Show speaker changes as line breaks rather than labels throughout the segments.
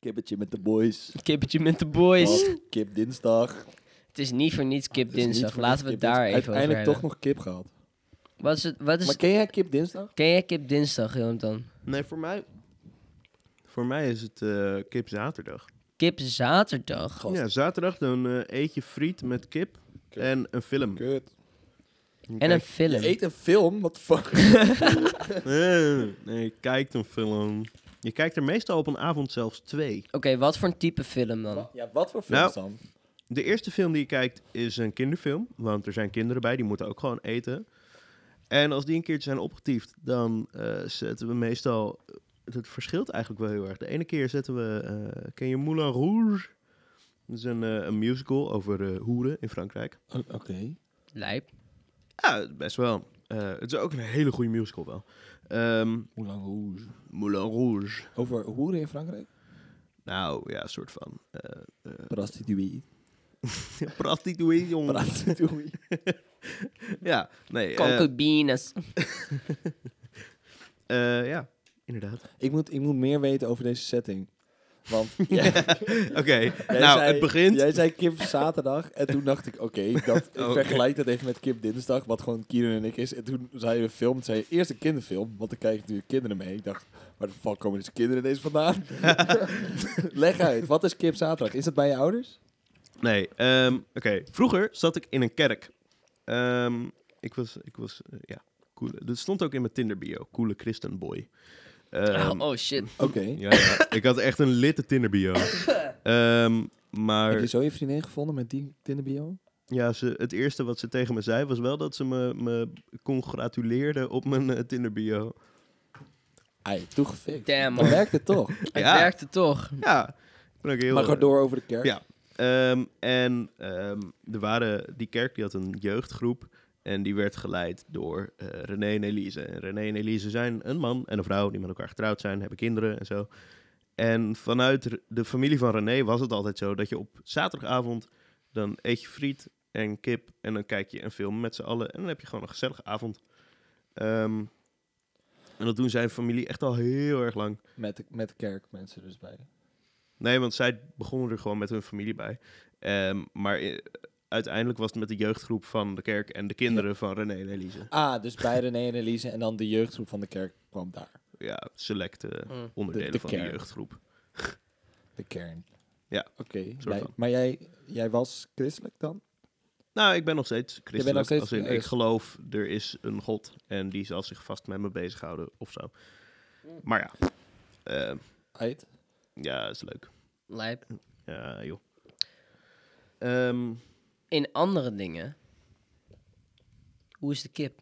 Kibbetje met de boys.
Kippetje met de boys.
Of kip dinsdag.
Het is niet voor niets kip
Het is niet
dinsdag.
voor
Laten we het
niks
daar
kip
even
dinsdag.
over
Uiteindelijk
hebben. Dus-
toch nog kip gehad.
Wat is het? Wat is
Maar
het?
ken jij kip dinsdag?
Ken jij kip dinsdag, Willem, dan?
Nee, voor mij... Voor mij is het eh, kip zaterdag.
Kip zaterdag.
Gast.
Ja, zaterdag dan eh, eet je friet met kip
Kut.
en een film.
Kut.
En een
Kijk-
film.
Je eet een film? Wat fuck?
Eh, nee, je kijkt een film. Je kijkt er meestal op een avond zelfs twee.
Oké, wat voor een type film dan?
ja, wat voor film
Nou.
dan?
De eerste film die je kijkt is een kinderfilm, want er zijn kinderen bij, die moeten ook gewoon eten. En als die een keertje zijn opgetiefd, dan eh, zetten we meestal... eh, Het verschilt eigenlijk wel heel erg. De ene keer zetten we... eh, ken je Moulin Rouge? Dat is een, eh, een musical over eh, hoeren in Frankrijk.
Oké.
Lijp.
Ja, best wel. Eh, het is ook een hele goede musical wel. Ehm,
Hoe lang hoe?
Moulin Rouge.
Over hoeren in Frankrijk?
Nou, ja, soort van. eh
Prostituee.
Prostituee, jongen.
Prostituee.
Ja, nee. eh
Concubines.
eh, ja, inderdaad.
ik, moet, ik moet meer weten over deze setting. Want
Oké,
Jij
nou,
zei-
het begint... Oh.
Jij zei kip zaterdag en toen dacht ik, oké, dat ik
Oké.
vergelijk dat even met kip dinsdag, wat gewoon Kieran en ik is. En toen zei je een film, toen zei je eerst een kinderfilm, want dan kijken natuurlijk kinderen mee. Ik dacht, waar de fuck komen deze kinderen deze vandaan? Leg uit, wat is kip zaterdag? Is dat bij je ouders?
Nee, ehm, oké. Vroeger zat ik in een kerk. Ehm, ik was, ik was eh, ja, cool. Dat stond ook in mijn Tinder-bio. Coole christenboy. Ehm,
oh, oh, shit.
Oké.
ja, ja, ik had echt een litte Tinder-bio. Ehm, maar...
Heb je zo je vriendin gevonden met die kinderbio?
Ja, ze, het eerste wat ze tegen me zei was wel dat ze me, me congratuleerde op mijn eh, Tinder-bio.
Ai, toegefikt.
Damn,
Maar
man.
werkt het toch?
Het
Ja.
werkte toch.
Ja, ik ben ook heel...
maar ga
eh,
door over de kerk.
Ja. ehm, en ehm, er waren, die kerk die had een jeugdgroep en die werd geleid door eh, René en Elise. En René en Elise zijn een man en een vrouw die met elkaar getrouwd zijn, hebben kinderen en zo. En vanuit r- de familie van René was het altijd zo dat je op zaterdagavond dan eet je friet en kip en dan kijk je een film met z'n allen en dan heb je gewoon een gezellige avond. Ehm, en dat doen zijn familie echt al heel erg lang.
Met, de, met de kerkmensen dus bij.
Nee, want zij begonnen er gewoon met hun familie bij. Ehm, maar eh, uiteindelijk was het met de jeugdgroep van de kerk en de kinderen van René en Elise.
Ah, dus bij René en Elise en dan de jeugdgroep van de kerk kwam daar.
Ja, selecte
Mm.
onderdelen
De- de
van de
kern.
jeugdgroep.
De kern.
Ja,
Oké.
soort
jij-
van.
Maar jij, jij was christelijk dan?
Nou, ik ben nog steeds christelijk.
nog steeds-
als in,
eh,
ik geloof, er is een god en die zal zich vast met me bezighouden of zo.
Mm.
Maar ja, ehm,
Uit?
ja, is leuk.
Lijp.
Ja, joh. Ehm,
In andere dingen. Hoe is de kip?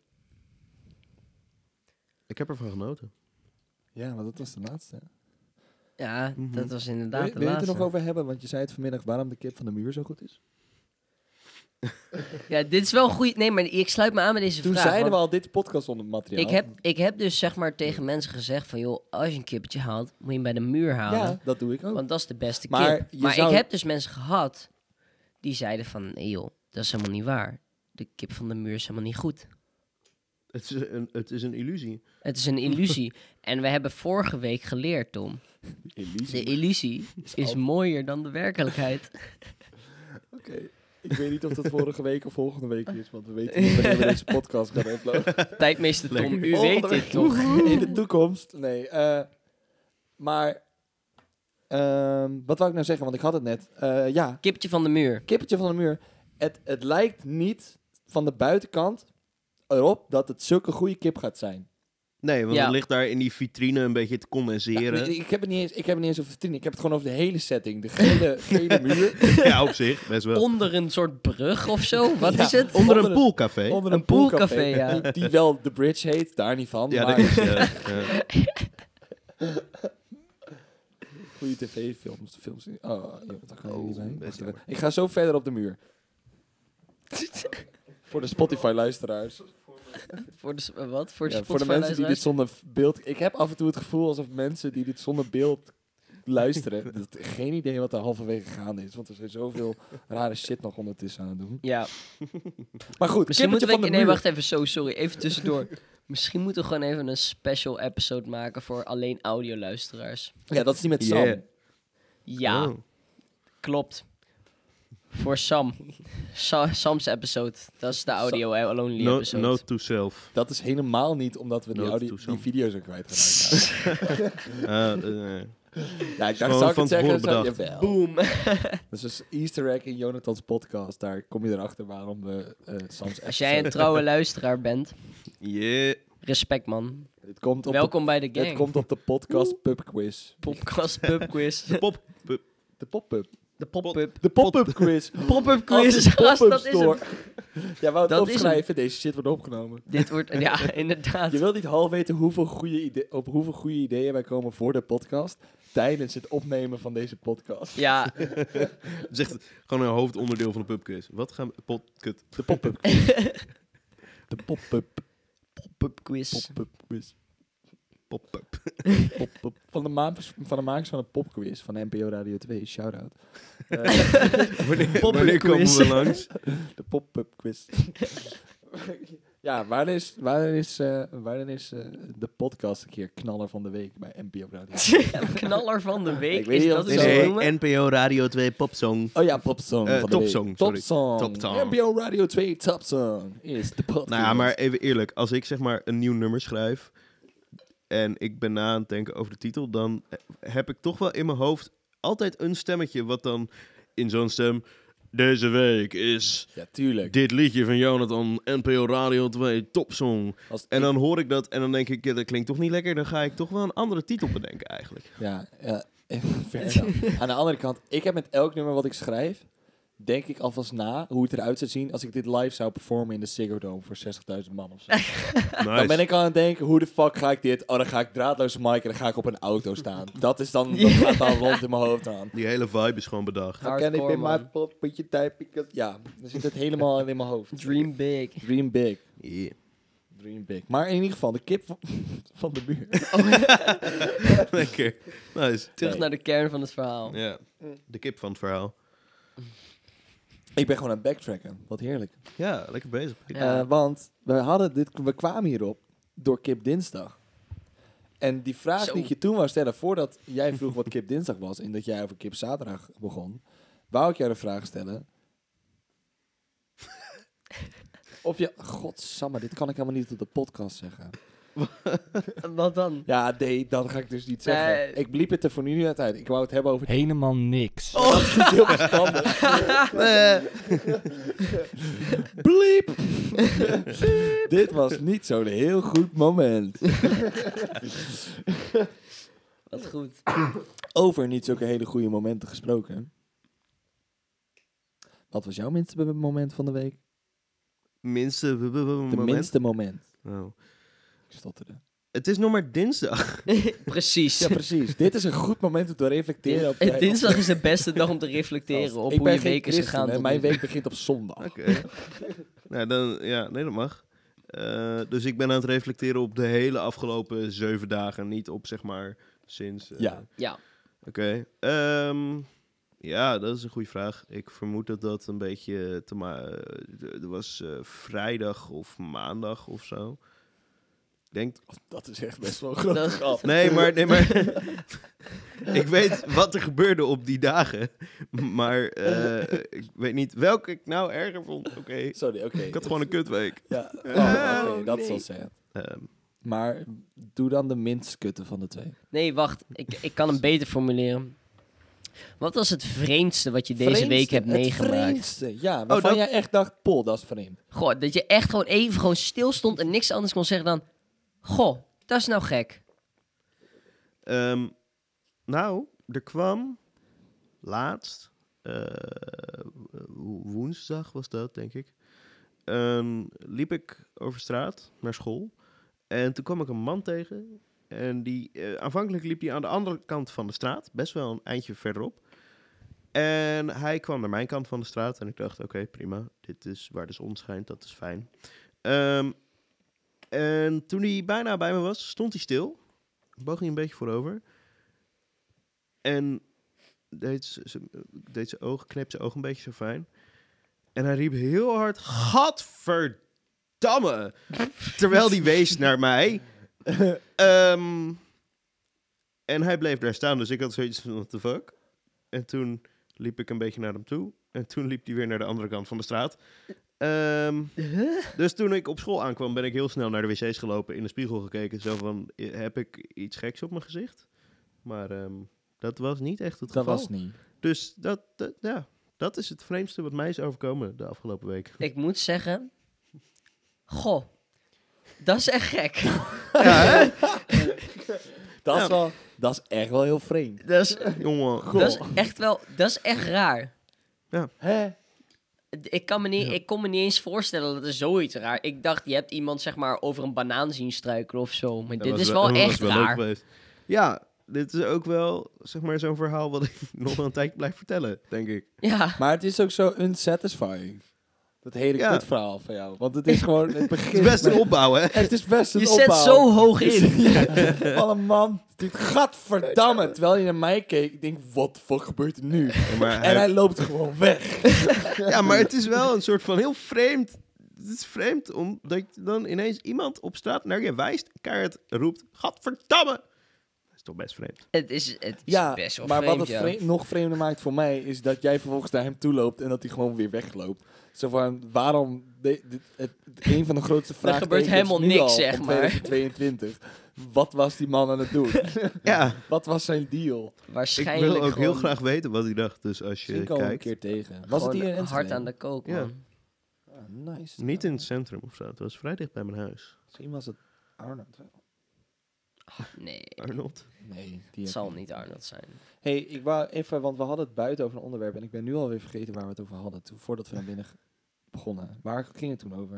ik heb ervan genoten.
Ja, want dat was de laatste.
Ja,
Mhm.
dat was
Wil
inderdaad
je,
de
wil je het er nog
laatste.
over hebben? Want je zei het vanmiddag waarom de kip van de muur zo goed is.
Ja, dit is wel goed. Nee, maar ik sluit me aan bij deze
Toen
vraag.
zeiden
want-
we al dit podcast onder materiaal.
Ik heb, ik heb dus zeg maar tegen mensen gezegd van... joh, als je een kippetje haalt, moet je hem bij de muur halen.
Ja, dat doe ik ook.
Want dat is de beste
Maar
kip.
je
Maar
zou-
ik heb dus mensen gehad die zeiden van... nee joh, dat is helemaal niet waar. De kip van de muur is helemaal niet goed.
Het is een, het is een illusie.
Het is een illusie. en we hebben vorige week geleerd, Tom...
Elise.
de illusie is
altijd-
mooier dan de werkelijkheid.
Oké. Ik weet niet of dat vorige week of volgende week is, want we weten niet wanneer we deze podcast gaan uploaden.
Tijdmeester Tom,
Lekker.
u weet
Volgende
dit
week.
toch?
In de toekomst. Nee. eh, maar, ehm, wat wou ik nou zeggen? Want ik had het net. Eh, ja,
Kipje van de muur.
kippetje van de muur. Het, het lijkt niet van de buitenkant erop dat het zulke goede kip gaat zijn.
Nee, want
Ja.
het ligt daar in die vitrine een beetje te condenseren.
Nou, ik, ik heb het niet eens, ik heb het niet eens over vitrine. Ik heb het gewoon over de hele setting. De gele, gele muur.
ja, op zich, best wel.
Onder een soort brug of zo? Wat
Ja.
is het?
Onder een
Onder-
poolcafé.
Onder
Een poolcafé, ja.
Die, die wel de bridge heet, daar niet van.
ja, dat
maar
is... eh, eh,
goede tv-films. Films, oh, joh, dat kan je
Oh,
niet bij.
best
Wacht
jammer.
even. Ik ga zo verder op de muur. Voor de Spotify-luisteraars.
Voor de, s- eh, wat? Voor de,
Ja, voor de mensen die dit
Spotify-luisteraars?
zonder v- beeld... Ik heb af en toe het gevoel alsof mensen die dit zonder beeld luisteren... dat geen idee wat er halverwege gaande is. Want er zijn zoveel rare shit nog ondertussen aan het doen.
Ja,
Maar goed, kippetje
misschien moeten
van
we...
de
Nee,
muur.
wacht even. Zo, sorry. Even tussendoor. misschien moeten we gewoon even een special episode maken voor alleen audioluisteraars.
Ja, dat is die met Sam.
Yeah.
Ja,
Oh.
klopt. Voor Sam. Sa- Sam's episode. Dat is de audio eh, Lonely
No,
episode.
note to self.
Dat is helemaal niet omdat we die,
Nood
audio,
toestand.
die video's er kwijt geraakt zijn.
Eh, eh, eh.
ja, ik dacht,
Gewoon
zou ik
van
het zeggen?
tevoren
Zou,
bedacht.
jawel.
Boom.
Dat is dus easter egg in Jonathan's podcast. Daar kom je erachter waarom we eh Sam's
Als jij een trouwe luisteraar bent,
yeah.
respect man.
Het komt op
Welkom bij de
de,
gang.
het komt op de podcast pub quiz.
Podcast pub quiz.
Pop. pup.
De pop-up.
De pop-up.
De pop-up quiz.
Pop-up
Als
quiz.
een
Gast,
pop-up
dat is
store.
hem.
Ja, wou het
Dat is
opschrijven. Deze shit wordt opgenomen.
Dit wordt, ja, inderdaad.
Je wilt niet half weten hoeveel goede ide- op hoeveel goede ideeën wij komen voor de podcast. Tijdens het opnemen van deze podcast.
Ja,
Zegt gewoon een hoofdonderdeel van de pubquiz. Wat gaan we... Pot, kut.
De pop-up quiz. De pop-up.
pop-up quiz.
Pop-up quiz.
Pop, pop.
Pop-up. Van, de makers- van de makers van de popquiz van NPO Radio 2. Shout-out. Eh,
Wanneer,
Pop-up
wanneer komen
quiz.
we langs?
de pop-up quiz. ja, waarin is, waarin is, eh, waarin is eh, de podcast een keer knaller van de week bij NPO Radio 2?
Knaller van de week.
Ik weet
Is
niet
dat
of
zo
dit-
te
Nee,
noemen?
NPO Radio 2 popsong.
Oh ja, Popsong.
Eh,
van de
Topsong,
week.
sorry.
Topsong.
Topsong.
NPO Radio 2 Topsong is de podcast.
Nou ja, maar even eerlijk. Als ik zeg maar een nieuw nummer schrijf... en ik ben na aan het denken over de titel... dan heb ik toch wel in mijn hoofd altijd een stemmetje... wat dan in zo'n stem... Deze week is
Ja, tuurlijk.
dit liedje van Jonathan, NPO Radio 2, topsong.
Als
En
ik-
dan hoor ik dat en dan denk ik, ja, dat klinkt toch niet lekker. Dan ga ik toch wel een andere titel bedenken eigenlijk.
Ja, ja. eh, fair enough. Aan de andere kant, ik heb met elk nummer wat ik schrijf, denk ik alvast na hoe het eruit zou zien als ik dit live zou performen in de Ziggo Dome voor 60.000 man of zo. Dan ben ik aan het denken, hoe de fuck ga ik dit? Oh, dan ga ik draadloos mic en dan ga ik op een auto staan. Dat is dan, dat gaat dan rond in mijn hoofd aan.
Die hele vibe is gewoon bedacht.
Dan kan ik
Hardcore,
in mijn
man.
poppetje typen. Ja, dan zit het helemaal in mijn hoofd.
Dream big.
Dream big.
Yeah.
Dream big. Maar in ieder geval, de kip van, van de buurt.
lekker. Nice.
Terug
Nee.
naar de kern van het verhaal.
Ja, de kip van het verhaal.
Ik ben gewoon aan het backtracken. Wat heerlijk.
Ja, lekker bezig.
Ja.
Eh, want we, hadden dit, we kwamen hierop door Kip Dinsdag. En die vraag
Zo.
die ik je toen wou stellen, voordat jij vroeg wat Kip Dinsdag was en dat jij over Kip Zaterdag begon, wou ik jou de vraag stellen. Of je, godsamme, dit kan ik helemaal niet op de podcast zeggen.
Wat dan?
Ja, nee, dat ga ik dus niet zeggen.
Nee.
Ik bliep het er voor nu net uit. Ik wou het hebben over.
Helemaal niks.
Dat
Oh.
is niet heel verstandig. Bliep! Dit was niet zo'n heel goed moment.
Wat goed.
Over niet zulke hele goede momenten gesproken. Wat was jouw minste be- moment van de week?
Minste w- w- w-
De
moment.
minste moment.
Oh.
Ik stotterde.
Het is nog maar dinsdag.
Precies.
Ja, precies. Dit is een goed moment om te reflecteren op
Eh, Dinsdag is de beste dag om te reflecteren op
Ik
hoe
ben
je
geen
week is
christen,
gegaan.
hè.
tot
Mijn
nu toe.
week begint op zondag.
Oké. Eh, nou, dan, ja, nee, dat mag. Eh, dus ik ben aan het reflecteren op de hele afgelopen zeven dagen. Niet op, zeg maar, sinds... eh,
Ja.
Ja,
Oké. ehm, ja, dat is een goede vraag. Ik vermoed dat dat een beetje te ma- eh, d- Er was eh, vrijdag of maandag of zo. Ik Denk,
Dat is echt best wel een groot.
dat is
nee, maar, nee, maar ik weet wat er gebeurde op die dagen. Maar eh, ik weet niet welke ik nou erger vond. Oké,
Sorry, oké.
ik had gewoon een kutweek.
Ja. Oh, oké,
Oh,
dat is
nee.
wel sad.
Ehm,
Maar doe dan de minst kutte van de twee.
Nee, wacht. Ik, ik kan hem beter formuleren. Wat was het vreemdste wat je deze
Vreemdste,
week hebt
het
meegemaakt?
vreemdste, ja. Waarvan
dat-
jij echt dacht, Pol, dat is vreemd.
Goh, dat je echt gewoon even gewoon stil stond en niks anders kon zeggen dan... Goh, dat is nou gek.
Ehm, nou, er kwam laatst, eh, wo- woensdag was dat, denk ik. Ehm, liep ik over straat naar school en toen kwam ik een man tegen. En die, eh, aanvankelijk liep hij aan de andere kant van de straat, best wel een eindje verderop. En hij kwam naar mijn kant van de straat en ik dacht, oké, prima, dit is waar de zon schijnt, dat is fijn. Ehm, en toen hij bijna bij me was, stond hij stil boog hij een beetje voorover. En deed ze- ze- deed zijn oog, kneep zijn oog een beetje zo fijn. En hij riep heel hard, gadverdamme! Terwijl die wees naar mij. Ehm, en hij bleef daar staan, dus ik had zoiets van, what the fuck? En toen liep ik een beetje naar hem toe. En toen liep hij weer naar de andere kant van de straat. Ehm, dus toen ik op school aankwam, ben ik heel snel naar de wc's gelopen, in de spiegel gekeken. Zo van, "I- heb ik iets geks op mijn gezicht? Maar ehm, dat was niet echt het
Dat
geval.
was niet.
Dus dat, dat- ja, dat is het vreemdste wat mij is overkomen de afgelopen week.
Ik moet zeggen... Goh. Dat is echt gek.
Dat, is wel, dat is echt wel heel vreemd.
Dat is,
Jongen,
dat is echt wel... Dat is echt raar.
Hè?
Ik, kan me niet, ik kon me niet eens voorstellen dat er zoiets raar... Ik dacht, je hebt iemand zeg maar over een banaan zien struikelen of zo. Maar
Dat
dit
was
is wel
dat was
echt
wel leuk
raar.
geweest. Ja, dit is ook wel zeg maar zo'n verhaal wat ik nog wel een tijdje blijf vertellen, denk ik.
Ja.
Maar het is ook zo unsatisfying. Dat hele
Ja.
kutverhaal van jou. Want het is gewoon het begin.
Het is best een opbouw, hè?
Het is best een
Je zet
opbouw.
zo hoog in.
Ja. Van een man. Dit gadverdamme. Terwijl je naar mij keek. Ik denk, wat de fuck gebeurt er nu?
maar
En hij loopt gewoon weg.
Ja, maar het is wel een soort van heel vreemd. Het is vreemd omdat je dan ineens iemand op straat naar je wijst, kaart roept, gadverdamme. Dat is toch best vreemd.
Het is, het is
Ja,
best wel
maar
vreemd,
wat het
ja.
vreemd- nog vreemder maakt voor mij... is dat jij vervolgens naar hem toe loopt... en dat hij gewoon weer wegloopt. Zo van, waarom... De, dit- het, het- een van de grootste vragen...
gebeurt helemaal niks, zeg maar.
2022. Wat was die man aan het doen?
Ja,
Wat was zijn deal?
ik
Waarschijnlijk
wil ook heel
gewoon
graag weten wat hij dacht. Dus als je
Misschien komen we een
kijkt,
keer tegen. Was het
gewoon
hier in
hard aan de kook,
Ja.
man.
Ah, nice.
niet in het centrum of zo. Het was vrij dicht bij mijn huis.
Misschien was het Arnold. wel.
Nee,
Arnold.
Nee, die
het
heb
zal
ik
niet Arnold zijn.
hey, ik wou even, want we hadden het buiten over een onderwerp en ik ben nu alweer vergeten waar we het over hadden, toen, voordat we naar binnen g- begonnen. Waar ging het toen over?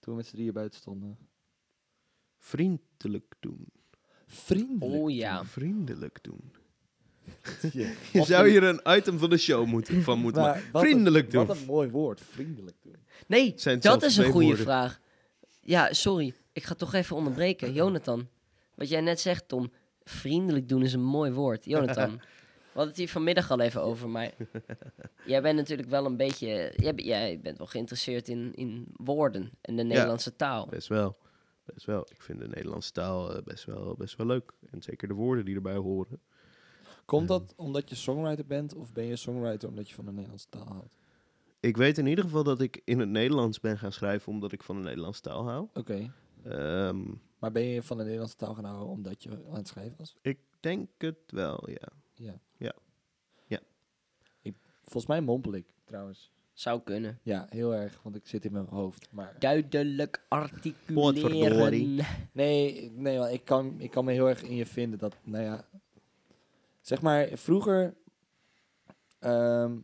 Toen we met z'n drieën buiten stonden.
Vriendelijk doen.
Vriendelijk.
Oh ja.
Vriendelijk doen.
Ja.
Je
Of
zou
een-
hier een item van de show moeten, van moeten
maar
maken.
wat een-
Vriendelijk doen.
Wat een mooi woord, vriendelijk doen.
Nee,
Zijn het
dat
zelfs
is een
twee
goede
woorden?
vraag. Ja, sorry. Ik ga toch even onderbreken. Jonathan, wat jij net zegt, Tom. Vriendelijk doen is een mooi woord. Jonathan, we hadden het hier vanmiddag al even over, maar... jij bent natuurlijk wel een beetje... Jij, be- jij bent wel geïnteresseerd in, in woorden en de Nederlandse taal.
Best wel. Best wel. Ik vind de Nederlandse taal eh, best, wel, best wel leuk. En zeker de woorden die erbij horen.
Komt dat omdat je songwriter bent of ben je songwriter omdat je van de Nederlandse taal houdt?
Ik weet in ieder geval dat ik in het Nederlands ben gaan schrijven omdat ik van de Nederlandse taal hou.
Oké,
Ehm,
maar ben je van de Nederlandse taal gaan houden omdat je aan het schrijven was?
ik denk het wel, ja.
Ja.
Ja. Ja.
Ik, volgens mij mompel ik trouwens.
Zou kunnen.
Ja, heel erg, want ik zit in mijn hoofd. Maar
Duidelijk
Potverdorie.
articuleren.
nee, nee want ik, kan, ik kan me heel erg in je vinden dat, nou ja. Zeg maar, vroeger ehm,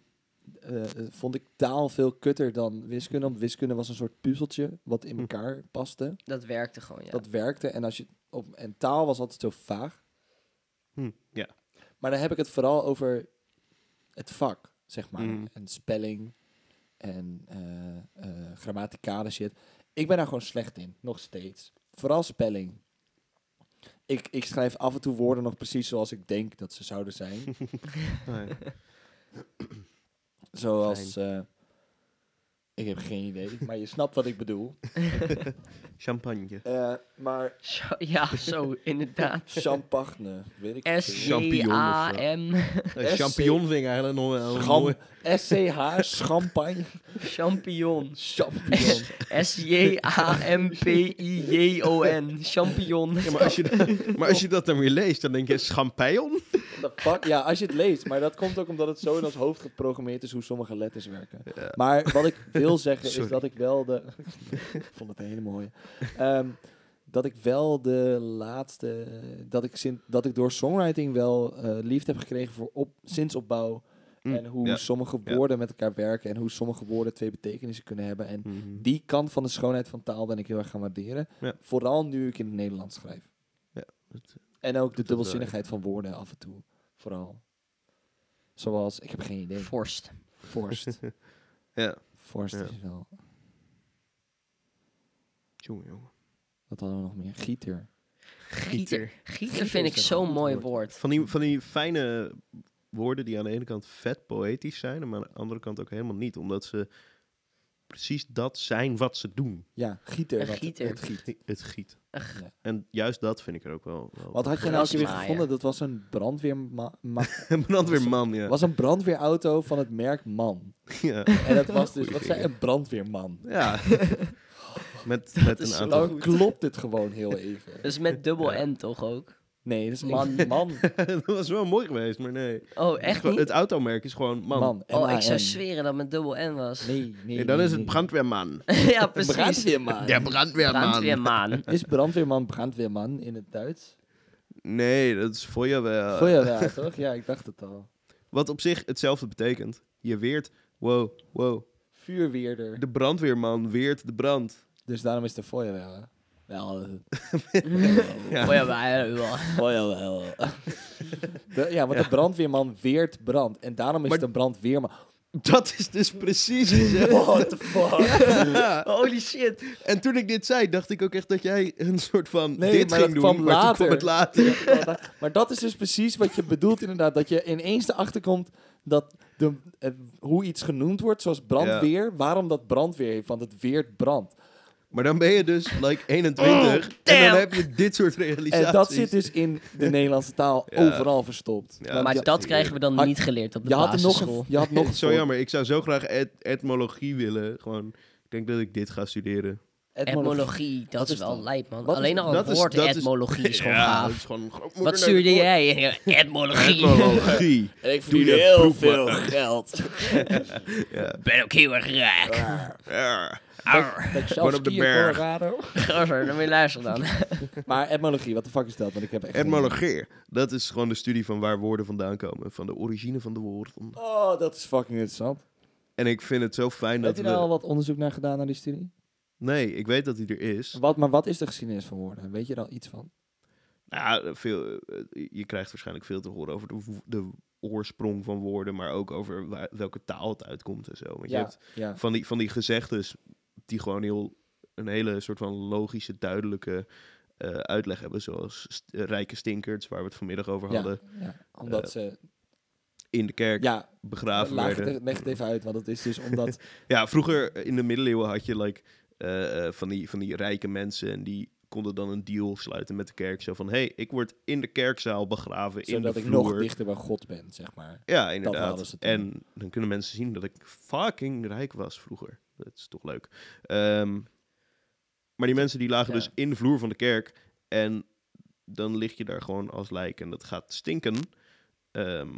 eh, vond ik taal veel kutter dan wiskunde. Want wiskunde was een soort puzzeltje wat in
Hm.
elkaar paste.
Dat werkte gewoon, ja.
Dat werkte. En, als je op, en taal was altijd zo vaag.
Hm, ja.
Maar dan heb ik het vooral over het vak, zeg maar.
Mhm.
En spelling en eh, eh, grammaticale shit. Ik ben daar gewoon slecht in, nog steeds. Vooral spelling. Ik, ik schrijf af en toe woorden nog precies zoals ik denk dat ze zouden zijn.
Ah,
zoals... eh, ik heb geen idee, maar je snapt wat ik bedoel.
Champagne.
Eh, maar
Zo- ja, zo, inderdaad.
champagne, weet ik veel.
Champignon of zo.
S-J-A-M.
SC.
champignon vind ik eigenlijk nog wel
Scham-
mooi.
SCH, champagne,
Champignon.
champignon.
S-J-A-M-P-I-J-O-N. Champignon.
Ja, maar, als je dat, maar als je dat dan weer leest, dan denk je champignon?
What the fuck? Ja, als je het leest. Maar dat komt ook omdat het zo in ons hoofd geprogrammeerd is hoe sommige letters werken.
Ja.
Maar wat ik wil zeggen is
Sorry.
dat ik wel de... ik vond het een hele mooie. Ehm, dat ik wel de laatste... Dat ik, sin- dat ik door songwriting wel eh, liefde heb gekregen voor op, zinsopbouw.
Mm,
En hoe
ja.
sommige
Ja.
woorden met elkaar werken. En hoe sommige woorden twee betekenissen kunnen hebben. En
Hm,
die kant van de schoonheid van taal ben ik heel erg gaan waarderen.
Ja.
Vooral nu ik in het Nederlands schrijf.
Ja, dat- eh,
en ook de
dat wel, ja.
dubbelzinnigheid van woorden af en toe. Vooral. Zoals, ik heb geen idee.
Forst.
Forst.
Ja,
Forst
Ja.
is wel.
jongen, jongen.
Wat hadden we nog meer? Gieter.
Gieter. Gieter
Gieter
vind
is
ik
een
zo'n
goed
mooi
woord.
woord.
Van die, van die fijne woorden die aan de ene kant vet poëtisch zijn, maar aan de andere kant ook helemaal niet. Omdat ze precies dat zijn wat ze doen.
Ja, gieter.
Een
wat-
gieter.
Het giet.
Het giet. En juist dat vind ik er ook wel. wel
Wat had je nou ook weer
Grasmaaier.
gevonden? Dat was een brandweerma... ma-
een brandweerman, ja.
was een brandweerauto van het merk Man.
Ja.
En dat was dus,
Goeie
wat zei
dingen.
een brandweerman?
ja. met met
is
een
zo
aantal.
Dan klopt dit gewoon heel even.
Dus met dubbel
Ja.
N toch ook?
Nee, dat is
Man.
man. Man.
dat was wel mooi geweest, maar nee.
Oh, echt
Gewoon-
niet?
Het automerk is gewoon man.
man.
Oh, ik
M-A-N.
zou zweren dat het met dubbel N was.
Nee, nee.
Nee, dan
nee,
is het
nee.
brandweerman.
ja, precies.
Brandweerman.
Der brandweerman.
Brandweerman.
Is brandweerman brandweerman in het Duits?
Nee, dat is feuerwehr.
Voor je wel, toch? Ja, ik dacht het al.
Wat op zich hetzelfde betekent. Je weert, wow, wow.
Vuurweerder.
De brandweerman weert de brand.
Dus daarom is de voor je wel. hè? Wel, eh,
Ja.
Oh ja, maar, ja,
voor je wel. De- ja, want de brandweerman weert brand. En daarom is
Maar-
het een brandweerman.
Dat is dus precies gezegd.
What the fuck?
Ja.
Holy shit.
En toen ik dit zei, dacht ik ook echt dat jij een soort van
Nee,
dit
maar
ging
dat
doen,
kwam
maar toen
later.
kwam het later.
maar dat is dus precies wat je bedoelt inderdaad. Dat je ineens erachter komt dat de, eh, hoe iets genoemd wordt, zoals brandweer. Waarom dat brandweer heeft, want het weert brand.
Maar dan ben je dus like 21 en
damn.
dan heb je dit soort realisaties.
Oh, En dat zit dus in de Nederlandse taal
Ja.
overal verstopt.
Ja,
Want
Maar
je-
dat krijgen we dan
Had-
niet geleerd op de
je had er nog
basisschool.
een, je had nog een
Zo
voor-
jammer, ik zou zo graag et- etymologie willen. Gewoon, ik denk dat ik dit ga studeren.
Etymologie, dat
Wat
is
is
wel
dat?
lijp, man.
Wat is-
Alleen al
dat
het
is-
woord
dat is-
etymologie is gewoon
Ja, dat
gaaf.
is gewoon een grootmoeder
Wat
naar
stuurde
de-
jij? Etymologie.
Etymologie.
En ik
Doe je proef maar.
geld.
Ik ben ook heel erg raak.
Ja.
Arr.
Dat je
Gewoon
zelf
op de
skiën,
berg.
Colorado.
Gozer, dan moet je luisteren dan.
Maar etymologie, wat de fuck is dat? Want ik heb echt geen-
Etymologie, dat is gewoon de studie van waar woorden vandaan komen. Van de origine van de woorden.
Oh, dat is fucking interessant.
En ik vind het zo
Heb
fijn dat
je
we...
daar al wat onderzoek naar gedaan, naar die studie?
Nee, ik weet dat hij er is.
Wat, maar wat is de geschiedenis van woorden? Weet je daar al iets van?
Nou, veel, eh, je krijgt waarschijnlijk veel te horen over de, wo- de oorsprong van woorden, maar ook over waar- welke taal het uitkomt en zo. Want je hebt
ja.
van die, van die gezegdes die gewoon heel, een hele soort van logische, duidelijke eh, uitleg hebben. Zoals st- eh, rijke stinkerts, waar we het vanmiddag over
Ja.
hadden,
ja. Omdat
Eh,
ze...
in de kerk
Ja,
begraven
laag het
werden.
er- leg het even uit, want het is dus omdat...
Ja, vroeger eh, in de middeleeuwen had je like, eh, eh, van, die, van die rijke mensen en die konden dan een deal sluiten met de kerk. Zo van, hé, hey, ik word in de kerkzaal begraven, in
zodat
de
ik nog
vloer.
dichter bij God ben, zeg maar.
Ja,
hadden
inderdaad.
ze toen.
En dan kunnen mensen zien dat ik fucking rijk was vroeger. Dat is toch leuk. Ehm, maar die mensen die lagen
Ja.
dus in de vloer van de kerk. En dan lig je daar gewoon als lijk en dat gaat stinken. Ehm,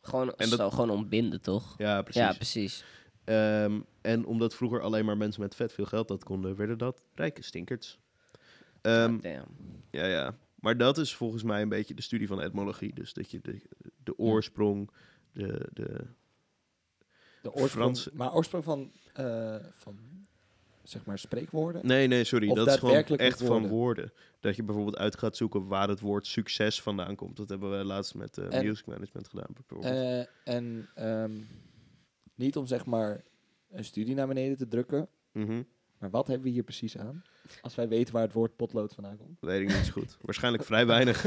Gewoon,
En dat-
zo, gewoon ontbinden, toch?
ja, precies.
Ja, precies.
Ehm, en omdat vroeger alleen maar mensen met vet veel geld dat konden, werden dat rijke stinkerts. Ehm,
Oh, Damn.
ja, ja. Maar dat is volgens mij een beetje de studie van etymologie. Dus dat je de, de oorsprong, de, de,
De oorsprong,
Frans-
Maar oorsprong van, eh, van, zeg maar, spreekwoorden?
Nee, nee, sorry.
Of
dat is gewoon
daadwerkelijk
echt
met
van
woorden.
woorden. Dat je bijvoorbeeld uit gaat zoeken waar het woord succes vandaan komt. Dat hebben we laatst met eh,
En-
music management gedaan. Bijvoorbeeld.
Eh, en ehm, niet om zeg maar een studie naar beneden te drukken,
Mhm.
maar wat hebben we hier precies aan? Als wij weten waar het woord potlood vandaan komt.
Weet ik niet zo goed. Waarschijnlijk vrij weinig.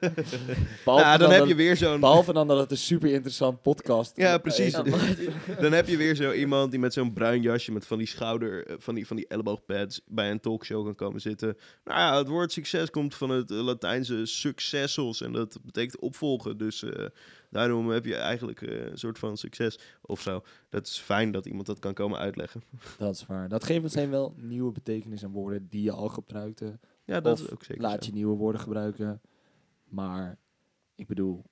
Behalve,
ja, Nou, dan
dat
heb je
het-
weer zo'n...
behalve dan dat het een super interessant podcast
Ja,
eh,
precies.
is.
Dan heb je weer zo iemand die met zo'n bruin jasje, met van die schouder, eh, van die, van die elleboogpads, bij een talkshow kan komen zitten. Nou ja, het woord succes komt van het eh, Latijnse successos en dat betekent opvolgen. Dus eh, daarom heb je eigenlijk eh, een soort van succes of zo. Dat is fijn dat iemand dat kan komen uitleggen.
Dat is waar. Dat geeft meteen wel nieuwe betekenis aan woorden die je al gebruikte.
Ja, dat
Of
is ook zeker.
Laat
zo.
je nieuwe woorden gebruiken. Maar ik bedoel.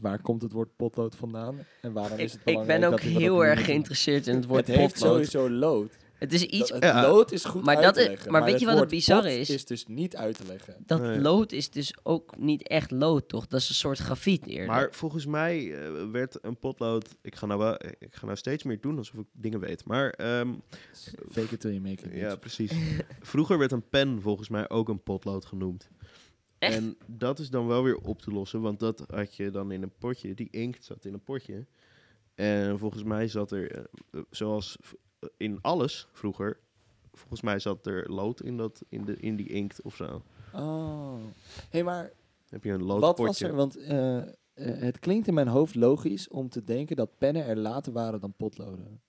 Waar komt het woord potlood vandaan? En waarom
Ik,
is het
ik
belangrijk
ben ook
dat we dat
heel
nu
erg
doen?
geïnteresseerd in het
Het
woord
heeft
potlood.
sowieso lood.
Het is iets...
Dat- het
Ja.
lood is goed
Maar
uit
dat
te
is-
leggen.
maar weet je wat het
woord
bizarre
pot
is?
is dus niet uit te leggen.
Dat
Nee.
lood is dus ook niet echt lood, toch? Dat is een soort grafiet eerder.
Maar volgens mij eh, werd een potlood. Ik ga, nou wel, ik ga nou steeds meer doen alsof ik dingen weet. Maar ehm,
Fake it till you make it.
ja, precies. Vroeger werd een pen volgens mij ook een potlood genoemd.
Echt?
En dat is dan wel weer op te lossen, want dat had je dan in een potje. Die inkt zat in een potje. En volgens mij zat er, eh, eh, zoals v- eh, in alles vroeger, volgens mij zat er lood in, dat, in, de, in die inkt of zo.
Oh. Hé, hey, maar
Heb je een
wat was
loodpotje?
er? Want eh, eh, het klinkt in mijn hoofd logisch om te denken dat pennen er later waren dan potloden.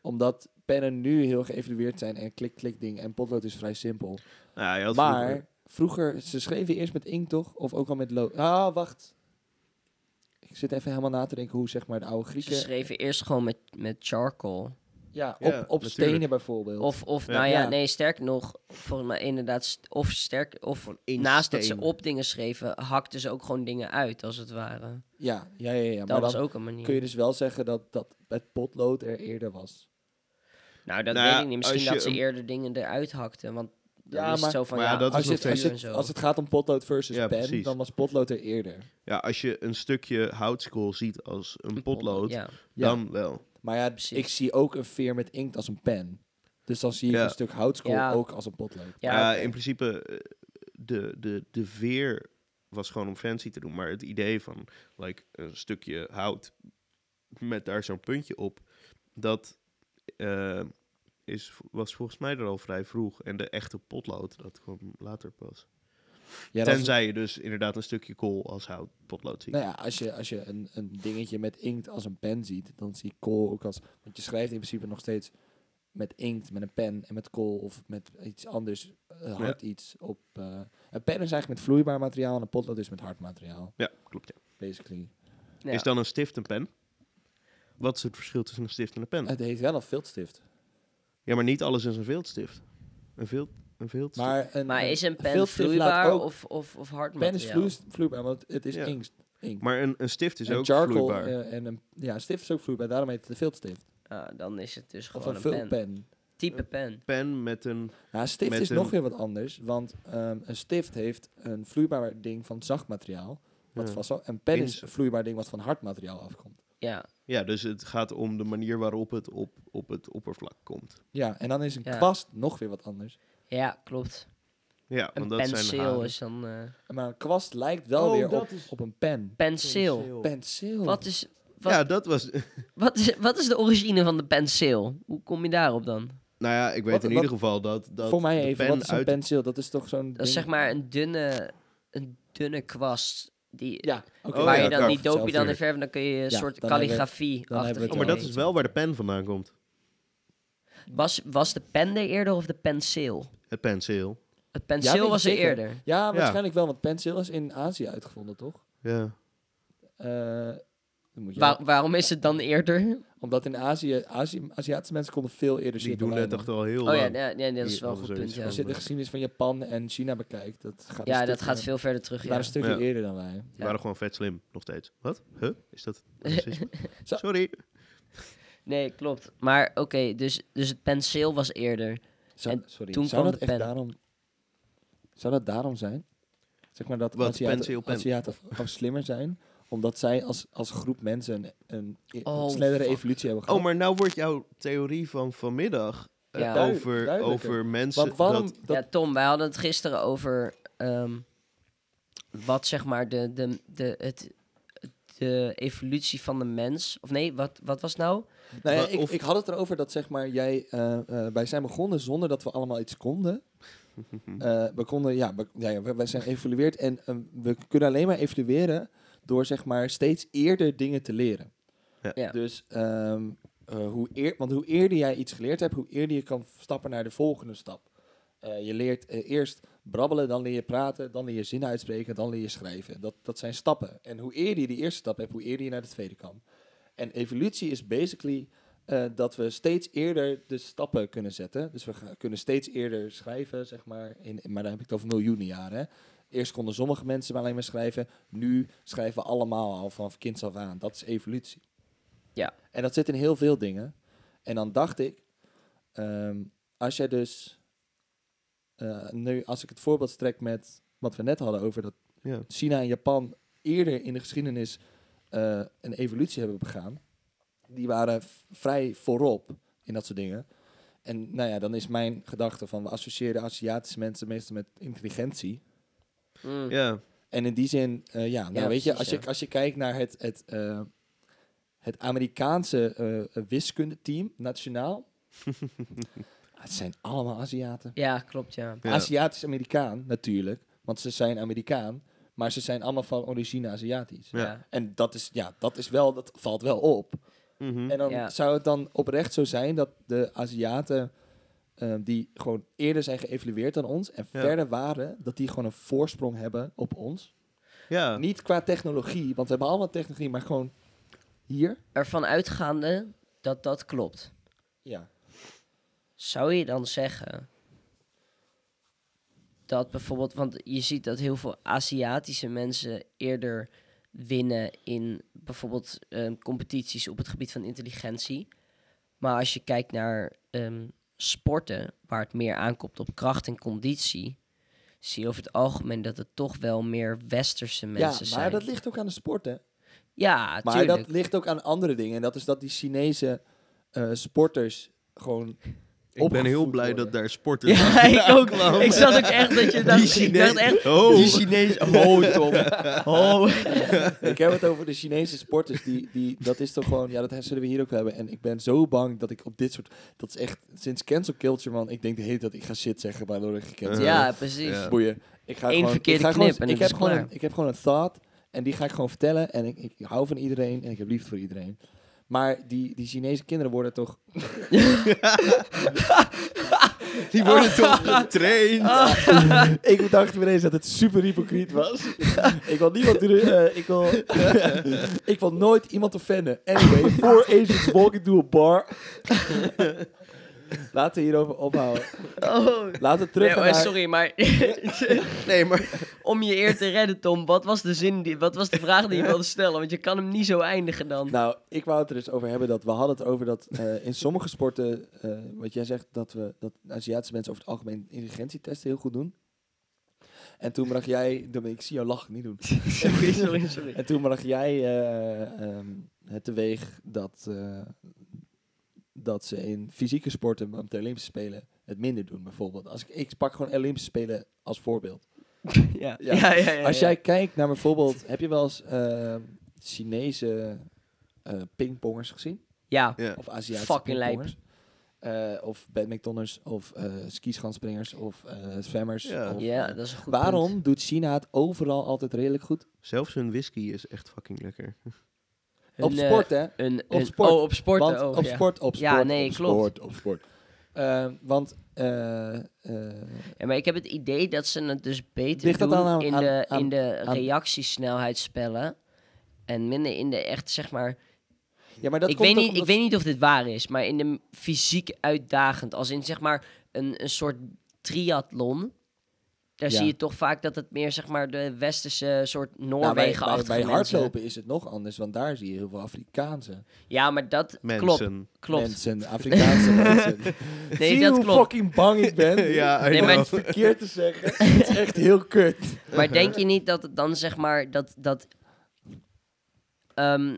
Omdat pennen nu heel geëvalueerd zijn en klik-klik ding en potlood is vrij simpel.
Nou, ja, je had vroeger-
Maar vroeger, ze schreven eerst met inkt toch? Of ook al met lood? Ah, wacht. Ik zit even helemaal na te denken hoe zeg maar de oude
Ze
Grieken...
schreven eerst gewoon met, met charcoal.
ja, op,
Ja,
op
natuurlijk.
stenen bijvoorbeeld.
Of, of
Ja.
nou ja,
Ja.
nee, sterk nog, volgens mij inderdaad, st- of sterk, of
één
naast dat
steen.
ze op dingen schreven, hakten ze ook gewoon dingen uit, als het ware.
ja, ja, ja, ja. Maar
dat
dan
was ook een manier.
kun je dus wel zeggen dat, dat het potlood er eerder was.
Nou, dat
Nou ja,
weet ik niet. Misschien
als je
dat ze
een-
eerder dingen eruit hakten, want dan
Ja,
is
maar-
het zo van,
maar
ja,
ja, dat is
Als,
als
je het,
nog
als,
je
je
en zo.
het- als het gaat om potlood versus
Ja,
pen,
precies.
dan was potlood er eerder.
ja, als je een stukje houtskool ziet als een potlood,
Ja.
Ja.
dan wel.
Maar ja,
Precies.
ik zie ook een veer met inkt als een pen. Dus dan zie ik
Ja.
een stuk houtskool
Ja.
ook als een potlood.
Ja,
Maar,
oké.
In principe, eh, de, de, de veer was gewoon om fancy te doen. Maar het idee van like, een stukje hout met daar zo'n puntje op, dat eh, is, was volgens mij er al vrij vroeg. En de echte potlood, dat kwam later pas.
Ja, dat is-
Tenzij je dus inderdaad een stukje kool als hout potlood ziet.
nou ja, als je, als je een, een dingetje met inkt als een pen ziet, dan zie ik kool ook als... Want je schrijft in principe nog steeds met inkt, met een pen en met kool of met iets anders, eh, hard iets op... eh, een pen is eigenlijk met vloeibaar materiaal en een potlood is met hard materiaal,
Ja, klopt. ja.
basically.
Ja.
Is dan een stift een pen? Wat is het verschil tussen een stift en een pen?
Het heet wel een viltstift.
Ja, maar niet alles is een viltstift. Een, vilt, een viltstift.
Maar, een,
Maar
een-
is een
een
pen
viltstift laat
vloeibaar
ook-
of, of, of hard
pen is
materiaal?
vloeis- vloeibaar, want het is
Ja.
inkt. inkt.
Maar een, een stift is
en
ook
charcoal
vloeibaar.
eh, en een, ja, een stift is ook vloeibaar, daarom heet het een viltstift.
Ah, dan is het dus
Of
gewoon
een
een pen.
vulpen.
Type pen.
Pen met een...
Ja, een stift
Met
is
een-
nog weer wat anders, want ehm, een stift heeft een vloeibaar ding van zacht materiaal. Wat
Ja.
vast zal- en pen is
Pins-
een vloeibaar ding wat van hard materiaal afkomt.
Ja,
Ja, dus het gaat om de manier waarop het op, op het oppervlak komt.
Ja, en dan is een
Ja.
kwast nog weer wat anders.
ja klopt.
Ja,
Een
want dat zijn
penseel
haren.
is dan... eh
Maar een kwast lijkt wel
Oh,
weer
dat
op,
is-
op een pen.
penseel.
Penseel.
Wat is, wat,
Ja, dat was... nou
wat, is, wat is de origine van de penseel? Hoe kom je daarop dan?
Nou ja, ik weet
Wat-
in
wat-
ieder geval dat... dat
Voor mij
de
even,
pen
wat is een
uit-
penseel? Dat is toch zo'n
Dat is
ding-
zeg maar een dunne, een dunne kwast. Die,
Ja, oké.
Oh
waar
ja,
je dan
kan.
die doop je dan in
Hetzelfde.
verf en dan kun je een
Ja,
soort
dan hebben we-
kalligrafie
dan hebben
achter.
we het
Oh, maar dat is wel waar de pen vandaan komt.
was, was de pen er eerder of de penseel?
Het penseel.
Het
Ja,
penseel
weet ik
was er
zeker.
eerder.
Ja, waarschijnlijk wel, want penseel is in Azië uitgevonden, toch?
Ja.
Eh, dan moet je
Waar- waarom is het dan eerder?
Omdat in Azië, Azië, Aziëtische mensen konden veel eerder
Die
zien.
doen dat echt al heel
Oh ja,
lang.
nee, nee, dat is
eh, Hier
wel een
hadden
goed
ze
punt.
iets
Ja,
Als je de geschiedenis van Japan en China bekijkt, dat gaat een
ja dat
stukje-
gaat veel verder terug.
die
Ja.
waren een stukje
Ja.
eerder dan wij.
Die
Ja.
waren gewoon vet slim, nog steeds. Wat? Huh? Is dat racisme?
Zo.
Sorry.
Nee, klopt. Maar oké, dus, dus het penseel was eerder.
Zou,
En
sorry,
toen
zou
kwam
dat
de
echt
pen.
daarom... Zou dat daarom zijn? Zeg maar dat
Wat,
Aziaten,
pencil pen?
Aziaten of slimmer zijn, omdat zij als, als groep mensen een, een e-
Oh,
snellere
fuck.
evolutie hebben gehad.
Oh, maar nou wordt jouw theorie van vanmiddag eh,
Ja. Duid-
over,
duidelijker.
over mensen...
Want waarom...
dat-
dat-
Ja, Tom, wij hadden het gisteren over ehm, wat zeg maar de, de, de, het, de evolutie van de mens. Of nee, wat, wat was het nou?
nou ja,
wa-
ik,
of-
ik had het erover dat zeg maar jij... eh, eh, wij zijn begonnen zonder dat we allemaal iets konden.
Mhm.
Eh, we konden, ja, we, ja, ja, we- wij zijn geëvalueerd en eh, we kunnen alleen maar evalueren door zeg maar steeds eerder dingen te leren.
Ja.
Ja.
Dus ehm, eh, hoe eer, want hoe eerder jij iets geleerd hebt, hoe eerder je kan stappen naar de volgende stap. Eh, je leert eh, eerst brabbelen, dan leer je praten, dan leer je zinnen uitspreken, dan leer je schrijven. Dat, dat zijn stappen. En hoe eerder je die eerste stap hebt, hoe eerder je naar de tweede kan. En evolutie is basically eh, dat we steeds eerder de stappen kunnen zetten. Dus we ga- kunnen steeds eerder schrijven, zeg maar. In, in- maar daar heb ik het over miljoenen jaren. hè. Eerst konden sommige mensen maar alleen maar schrijven. Nu schrijven we allemaal al vanaf kinds af aan. Dat is evolutie.
Ja.
En dat zit in heel veel dingen. En dan dacht ik, ehm, als jij dus... eh, nu, als ik het voorbeeld trek met wat we net hadden over dat
Ja.
China en Japan eerder in de geschiedenis eh, een evolutie hebben begaan. Die waren v- vrij voorop in dat soort dingen. En nou ja, dan is mijn gedachte van we associëren Aziatische mensen meestal met intelligentie.
Mm.
Ja,
En in die zin, eh, ja, nou
Ja,
weet je,
precies,
als,
ja.
je, als je kijkt naar het, het, eh, het Amerikaanse eh wiskundeteam, nationaal. het zijn allemaal Aziaten.
Ja, klopt, ja.
Ja.
Aziatisch-Amerikaan natuurlijk, want ze zijn Amerikaan. Maar ze zijn allemaal van origine Aziatisch.
Ja.
Ja.
En dat is, ja, dat is wel, dat valt wel op.
Mhm.
En dan
Ja.
zou het dan oprecht zo zijn dat de Aziaten, eh, die gewoon eerder zijn geëvalueerd dan ons en
Ja.
verder waren, dat die gewoon een voorsprong hebben op ons.
ja.
Niet qua technologie, want we hebben allemaal technologie, maar gewoon hier.
Ervan uitgaande dat dat klopt.
Ja.
Zou je dan zeggen dat bijvoorbeeld, want je ziet dat heel veel Aziatische mensen eerder winnen in bijvoorbeeld ehm, competities op het gebied van intelligentie. Maar als je kijkt naar ehm, sporten, waar het meer aankomt op kracht en conditie, zie je over het algemeen dat het toch wel meer westerse mensen
ja, maar
zijn.
dat ligt ook aan de sport, hè?
ja,
Maar
tuurlijk.
dat ligt ook aan andere dingen. En dat is dat die Chinese eh, sporters gewoon...
Ik ben heel
opgevoed
blij
worden.
dat daar sporten
Ja, ik ook. Ik zat ook echt dat je dacht, ik dacht echt,
Oh.
die Chinees... Oh, Tom. Oh.
Ik heb het over de Chinese sporters. Die, die, dat is toch gewoon... Ja, dat zullen we hier ook wel hebben. En ik ben zo bang dat ik op dit soort... Dat is echt... Sinds cancel culture, man. Ik denk de hele tijd... Ik ga shit zeggen waardoor ik gecanceld
Ja, precies.
Eh, Ja.
word. Boeien. Ik ga
Eén
gewoon,
verkeerde
ik ga gewoon-
knip en
ik
het
heb
is
gewoon
klaar.
een, Ik heb gewoon een thought. En die ga ik gewoon vertellen. En ik, ik hou van iedereen. En ik heb liefde voor iedereen. Maar die, die Chinese kinderen worden toch...
Die worden toch getraind.
ik bedacht me ineens dat het super hypocriet was. ik wil niemand... eh, ik, wil, ik wil nooit iemand offenden. Anyway, four Asians walk into a bar. Laten we hierover ophouden.
Oh.
Laten we terug
Nee,
gaan
maar
naar...
sorry, maar
Nee, maar
om je eer te redden, Tom, wat was de zin, die, wat was de vraag die je wilde stellen? Want je kan hem niet zo eindigen dan.
Nou, ik wou het er dus over hebben dat we hadden het over dat eh, in sommige sporten, eh, wat jij zegt, dat we dat Aziatische mensen over het algemeen intelligentietesten heel goed doen. En toen bracht jij, ik zie jou lachen, niet doen.
sorry, sorry, sorry.
En toen bracht jij eh, ehm, het teweeg dat, eh, dat ze in fysieke sporten op de Olympische Spelen het minder doen, bijvoorbeeld. Als ik, ik pak gewoon Olympische Spelen als voorbeeld.
Ja, ja,
Ja.
ja. ja, ja.
Als jij kijkt naar bijvoorbeeld, heb je wel eens eh, Chinese eh, pingpongers gezien?
Ja,
ja.
Of Aziatische
Fucking lijp.
pingpongers. Eh, of badmintonners, of eh skischanspringers, of eh zwammers.
Ja.
of-
ja, dat is een goed
Waarom
punt.
doet China het overal altijd redelijk goed?
zelfs hun whisky is echt fucking lekker.
Een,
op
eh,
sport, hè?
Een,
Op
een-
sport.
Oh, op sport.
want
oh,
op
ja.
sport, op
Ja,
sport,
nee,
op
klopt.
sport, op sport. Eh, want, eh, eh,
Ja, maar ik heb het idee dat ze het dus beter
Ligt dat
doen
dan aan-
in,
aan-
de,
aan-
in de
aan-
reactiesnelheid spellen. En minder in de echt, zeg maar...
ja, maar dat
ik
komt
weet,
ook
niet, ik
omdat-
weet niet of dit waar is, maar in de m- fysiek uitdagend, als in zeg maar een, een soort triathlon... Daar
Ja.
zie je toch vaak dat het meer zeg maar de westerse soort
Nou, bij- bij,
Noorwegen-achtige
bij
mensen-
hardlopen is het nog anders, want daar zie je heel veel Afrikaanse
Ja, maar dat klopt,
Mensen.
klopt.
mensen, Afrikaanse mensen.
Nee,
zie je
dat
hoe
klopt.
fucking bang ik ben
Ja, I
Nee, maar-
om
know.
iets verkeerd te zeggen. Het is echt heel kut.
Maar denk je niet dat het dan zeg maar dat, dat ehm,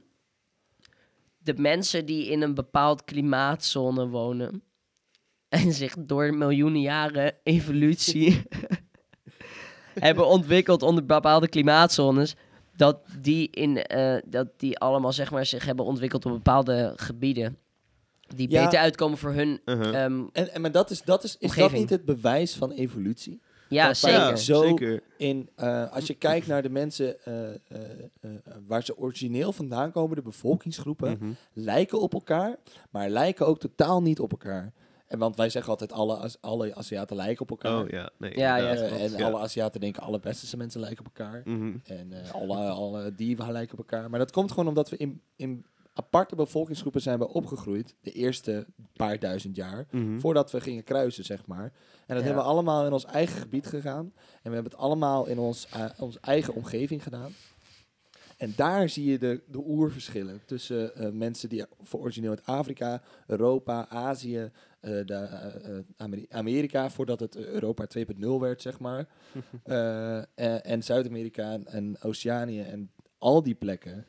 de mensen die in een bepaald klimaatzone wonen en zich door miljoenen jaren evolutie hebben ontwikkeld onder bepaalde klimaatzones, dat die, in, eh, dat die allemaal zeg maar, zich hebben ontwikkeld op bepaalde gebieden die
Ja.
beter uitkomen voor hun.
Uh-huh.
ehm,
En, en maar dat is, dat is, is dat
Omgeving.
niet het bewijs van evolutie?
ja,
Dat wij-
zeker.
Ja,
Zo-
zeker.
In, eh, als je kijkt naar de mensen eh, eh, eh, waar ze origineel vandaan komen, de bevolkingsgroepen,
Mhm.
lijken op elkaar, maar lijken ook totaal niet op elkaar. En want wij zeggen altijd alle, Az- alle Aziaten lijken op elkaar.
Oh ja, nee.
Ja,
inderdaad.
Eh,
klopt,
en
ja.
alle Aziaten denken alle westerse mensen lijken op elkaar.
Mhm.
En eh, alle, alle dieven lijken op elkaar. Maar dat komt gewoon omdat we in, in aparte bevolkingsgroepen zijn we opgegroeid. De eerste paar duizend jaar.
Mhm.
Voordat we gingen kruisen, zeg maar. En dat
Ja.
hebben we allemaal in ons eigen gebied gegaan. En we hebben het allemaal in ons, eh, onze eigen omgeving gedaan. En daar zie je de, de oerverschillen tussen eh, mensen die voor origineel uit Afrika, Europa, Azië, eh, de, eh, eh, Ameri- Amerika, voordat het Europa 2.0 werd, zeg maar. Eh, en, en Zuid-Amerika en, en Oceanië en al die plekken.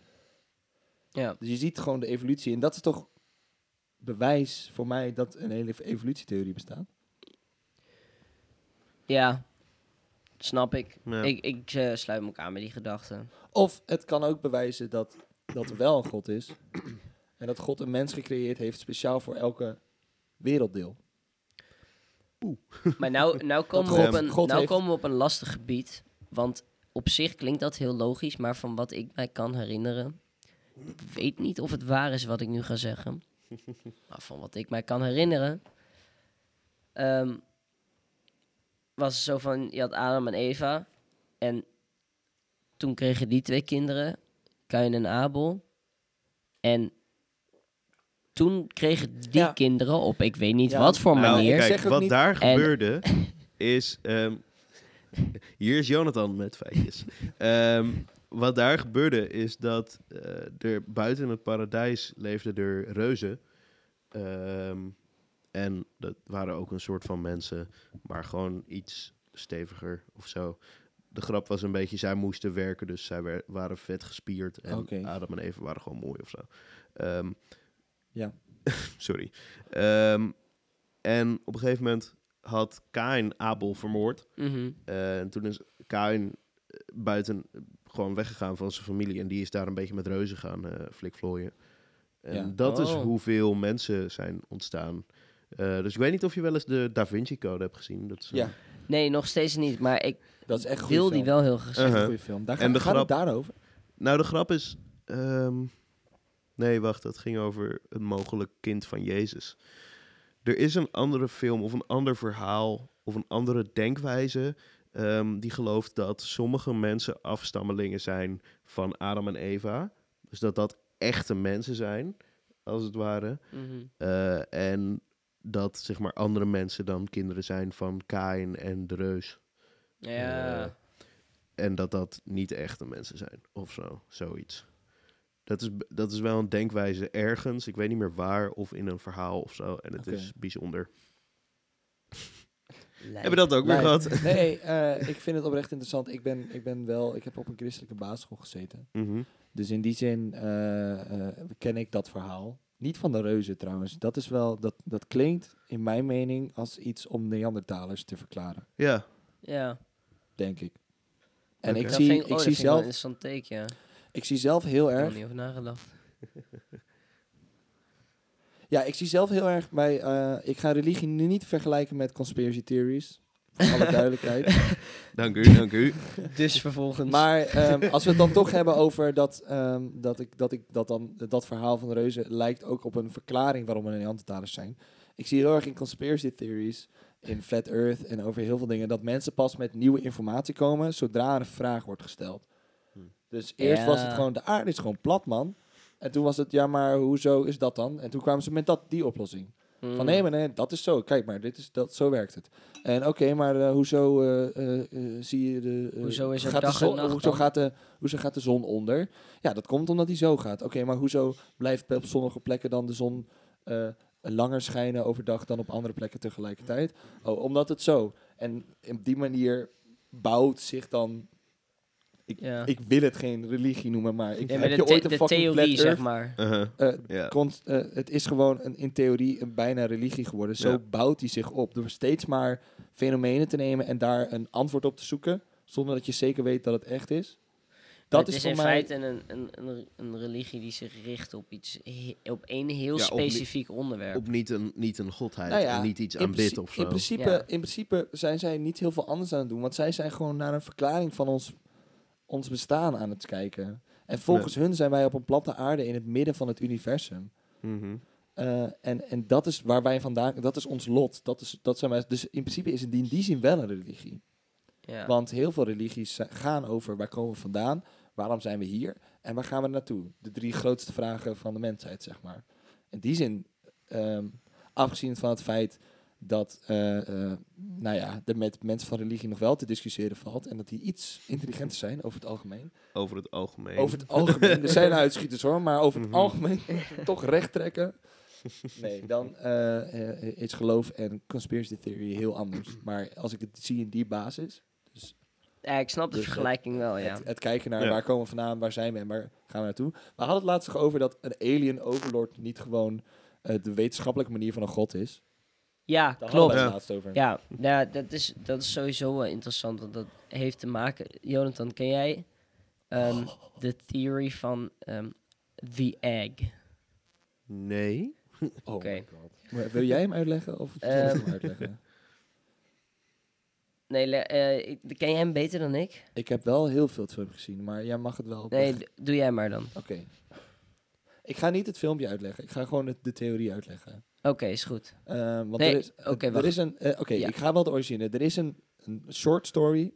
Ja.
Dus je ziet gewoon de evolutie. En dat is toch bewijs voor mij dat een hele evolutietheorie bestaat.
Ja, snap ik.
Ja.
Ik, ik eh, sluit me ook aan bij die gedachten.
Of het kan ook bewijzen dat, dat er wel een God is. En dat God een mens gecreëerd heeft speciaal voor elke werelddeel.
Maar nou, nou, komen,
God-
we op een,
God
nou
heeft-
komen we op een lastig gebied. Want op zich klinkt dat heel logisch, maar van wat ik mij kan herinneren. Ik weet niet of het waar is wat ik nu ga zeggen. maar van wat ik mij kan herinneren. ehm, was het zo van: je had Adam en Eva. En toen kregen die twee kinderen, Kain en Abel. En toen kregen die
Ja.
kinderen op, ik weet niet
Ja,
wat voor
Nou,
manier.
ik
kijk,
zeg ook
wat
niet-
daar
En-
gebeurde is... ehm, hier is Jonathan met feitjes. Ehm, wat daar gebeurde is dat eh, er buiten het paradijs leefden er reuzen. Ehm, en dat waren ook een soort van mensen, maar gewoon iets steviger of zo. De grap was een beetje, zij moesten werken, dus zij wer- waren vet gespierd. En
Oké.
Adam en Eva waren gewoon mooi of zo. Ehm,
Ja.
sorry. Ehm, en op een gegeven moment had Kain Abel vermoord.
Mhm.
Eh, en toen is Kain eh, buiten eh, gewoon weggegaan van zijn familie. En die is daar een beetje met reuzen gaan eh flikvlooien. En
Ja.
dat is
Oh.
hoeveel mensen zijn ontstaan. Eh, dus ik weet niet of je wel eens de Da Vinci Code hebt gezien. Dat is, eh,
Ja.
Nee, nog steeds niet, maar ik
Dat is echt een goede
wil die
film.
wel heel
Dat
graag.
is echt
Uh-huh.
een goede film. Daar
En
gaat,
de
gaat het
grap-
daarover.
Nou, de grap is... ehm, nee, wacht. Dat ging over een mogelijk kind van Jezus. Er is een andere film of een ander verhaal of een andere denkwijze... ehm, die gelooft dat sommige mensen afstammelingen zijn van Adam en Eva. Dus dat dat echte mensen zijn, als het ware.
Mhm.
Eh, en dat zeg maar andere mensen dan kinderen zijn van Kain en de reus.
Ja.
Eh, en dat dat niet echte mensen zijn of zo, zoiets. Dat is, b- dat is wel een denkwijze ergens, ik weet niet meer waar, of in een verhaal of zo. En het
Oké. Eh,
is bijzonder.
lijp.
Hebben we dat ook weer
Lijp.
gehad?
Nee, eh, ik vind het oprecht interessant. Ik ben, ik ben wel... Ik heb op een christelijke basisschool gezeten.
Mhm.
Dus in die zin eh, eh, ken ik dat verhaal. Niet van de reuzen trouwens. Dat, is wel, dat, dat klinkt in mijn mening als iets om Neandertalers te verklaren,
Ja,
Ja.
denk ik. En
Oké.
ik,
Dat
zie,
vind ik,
ik,
oh, dat
zie
vind ik wel een
zelf,
interessant teken, ja.
ik zie zelf heel
Ik heb er
erg...
niet over nagedacht.
Ja, ik zie zelf heel erg bij... eh, ik ga religie nu niet vergelijken met conspiracy theories. Voor alle duidelijkheid.
dank u, dank u.
Dus vervolgens...
Maar ehm, als we het dan toch hebben over dat, ehm, dat, ik, dat, ik, dat, dan, dat verhaal van de reuzen lijkt ook op een verklaring waarom we Neandertalers zijn. Ik zie heel erg in conspiracy theories, in flat earth en over heel veel dingen, dat mensen pas met nieuwe informatie komen zodra er een vraag wordt gesteld.
Hm.
Dus eerst
Ja.
was het gewoon, de aarde is gewoon plat, man. En toen was het, ja, maar hoezo is dat dan? En toen kwamen ze met dat, die oplossing.
Mm.
Van nee, maar nee, dat is zo. Kijk maar, dit is, dat, zo werkt het. En oké, maar eh, hoezo eh, eh, eh, zie je de... eh,
Hoezo is er
gaat de
dag en
zon-
nacht
hoezo
dan?
gaat, de, hoezo gaat de zon onder? Ja, dat komt omdat die zo gaat. Oké, maar hoezo blijft op sommige plekken dan de zon eh, langer schijnen overdag dan op andere plekken tegelijkertijd? Oh, omdat het zo. En op die manier bouwt zich dan... Ik,
Ja.
ik wil het geen religie noemen, maar... Ik,
Ja,
heb
maar
je
de, the-
ooit een
de
fucking flat
theorie,
earth,
zeg maar.
Uh-huh.
eh,
Ja.
Const- eh, het is gewoon een, in theorie een bijna religie geworden. Zo
Ja.
bouwt hij zich op. Door steeds maar fenomenen te nemen en daar een antwoord op te zoeken. Zonder dat je zeker weet dat het echt is. Dat
het is,
is,
in
voor mij.
feite een, een, een, een religie die zich richt op iets... he- op één heel
Ja, op die-
specifiek onderwerp.
Op niet een, niet een godheid
Nou ja,
en niet iets
in,
aanbid
principe-
of zo.
in, principe,
Ja.
in principe zijn zij niet heel veel anders aan het doen. Want zij zijn gewoon naar een verklaring van ons, ons bestaan aan het kijken. En volgens hun zijn wij op een platte aarde in het midden van het universum.
Mhm.
Eh, en, en dat is waar wij vandaan, dat is ons lot. Dat is, dat zijn wij, dus in principe is het in die zin wel een religie.
ja.
Want heel veel religies zi- gaan over waar komen we vandaan, waarom zijn we hier en waar gaan we naartoe? De drie grootste vragen van de mensheid, zeg maar. In die zin, ehm, afgezien van het feit dat eh, eh, nou ja, er met mensen van religie nog wel te discussiëren valt en dat die iets intelligenter zijn over het algemeen.
Over het algemeen.
Over het algemeen. Er zijn uitschieters hoor, maar over het
Mhm.
algemeen toch recht trekken. Nee, dan eh, eh, is geloof en conspiracy theory heel anders. Maar als ik het zie in die basis,
ja, ik snap de
Dus het-
vergelijking wel, Oh ja.
het, het kijken naar
Ja.
waar komen we vandaan, waar zijn we en waar gaan we naartoe. We hadden het laatst nog over dat een alien overlord niet gewoon eh, de wetenschappelijke manier van een god is.
ja,
Daar
klopt.
hadden we
Ja.
het laatst over.
Ja, nou, dat, is, dat is sowieso wel interessant, want dat heeft te maken... Jonathan, ken jij ehm, de theory van ehm, The Egg?
Nee.
Oh
Oké.
my god. Maar wil jij hem uitleggen of zal ik
Ehm.
hem uitleggen?
Nee, le- eh, ik- ken je hem beter dan ik?
Ik heb wel heel veel het filmpje gezien, maar jij mag het wel.
Nee,
oprecht-
d- doe jij maar dan.
Oké. Ik ga niet het filmpje uitleggen. Ik ga gewoon het- de theorie uitleggen.
Oké, is goed.
Eh, want
Nee,
er is,
oké,
er
wacht.
is een. eh, oké,
Ja.
ik ga wel het origine. Er is een, een short story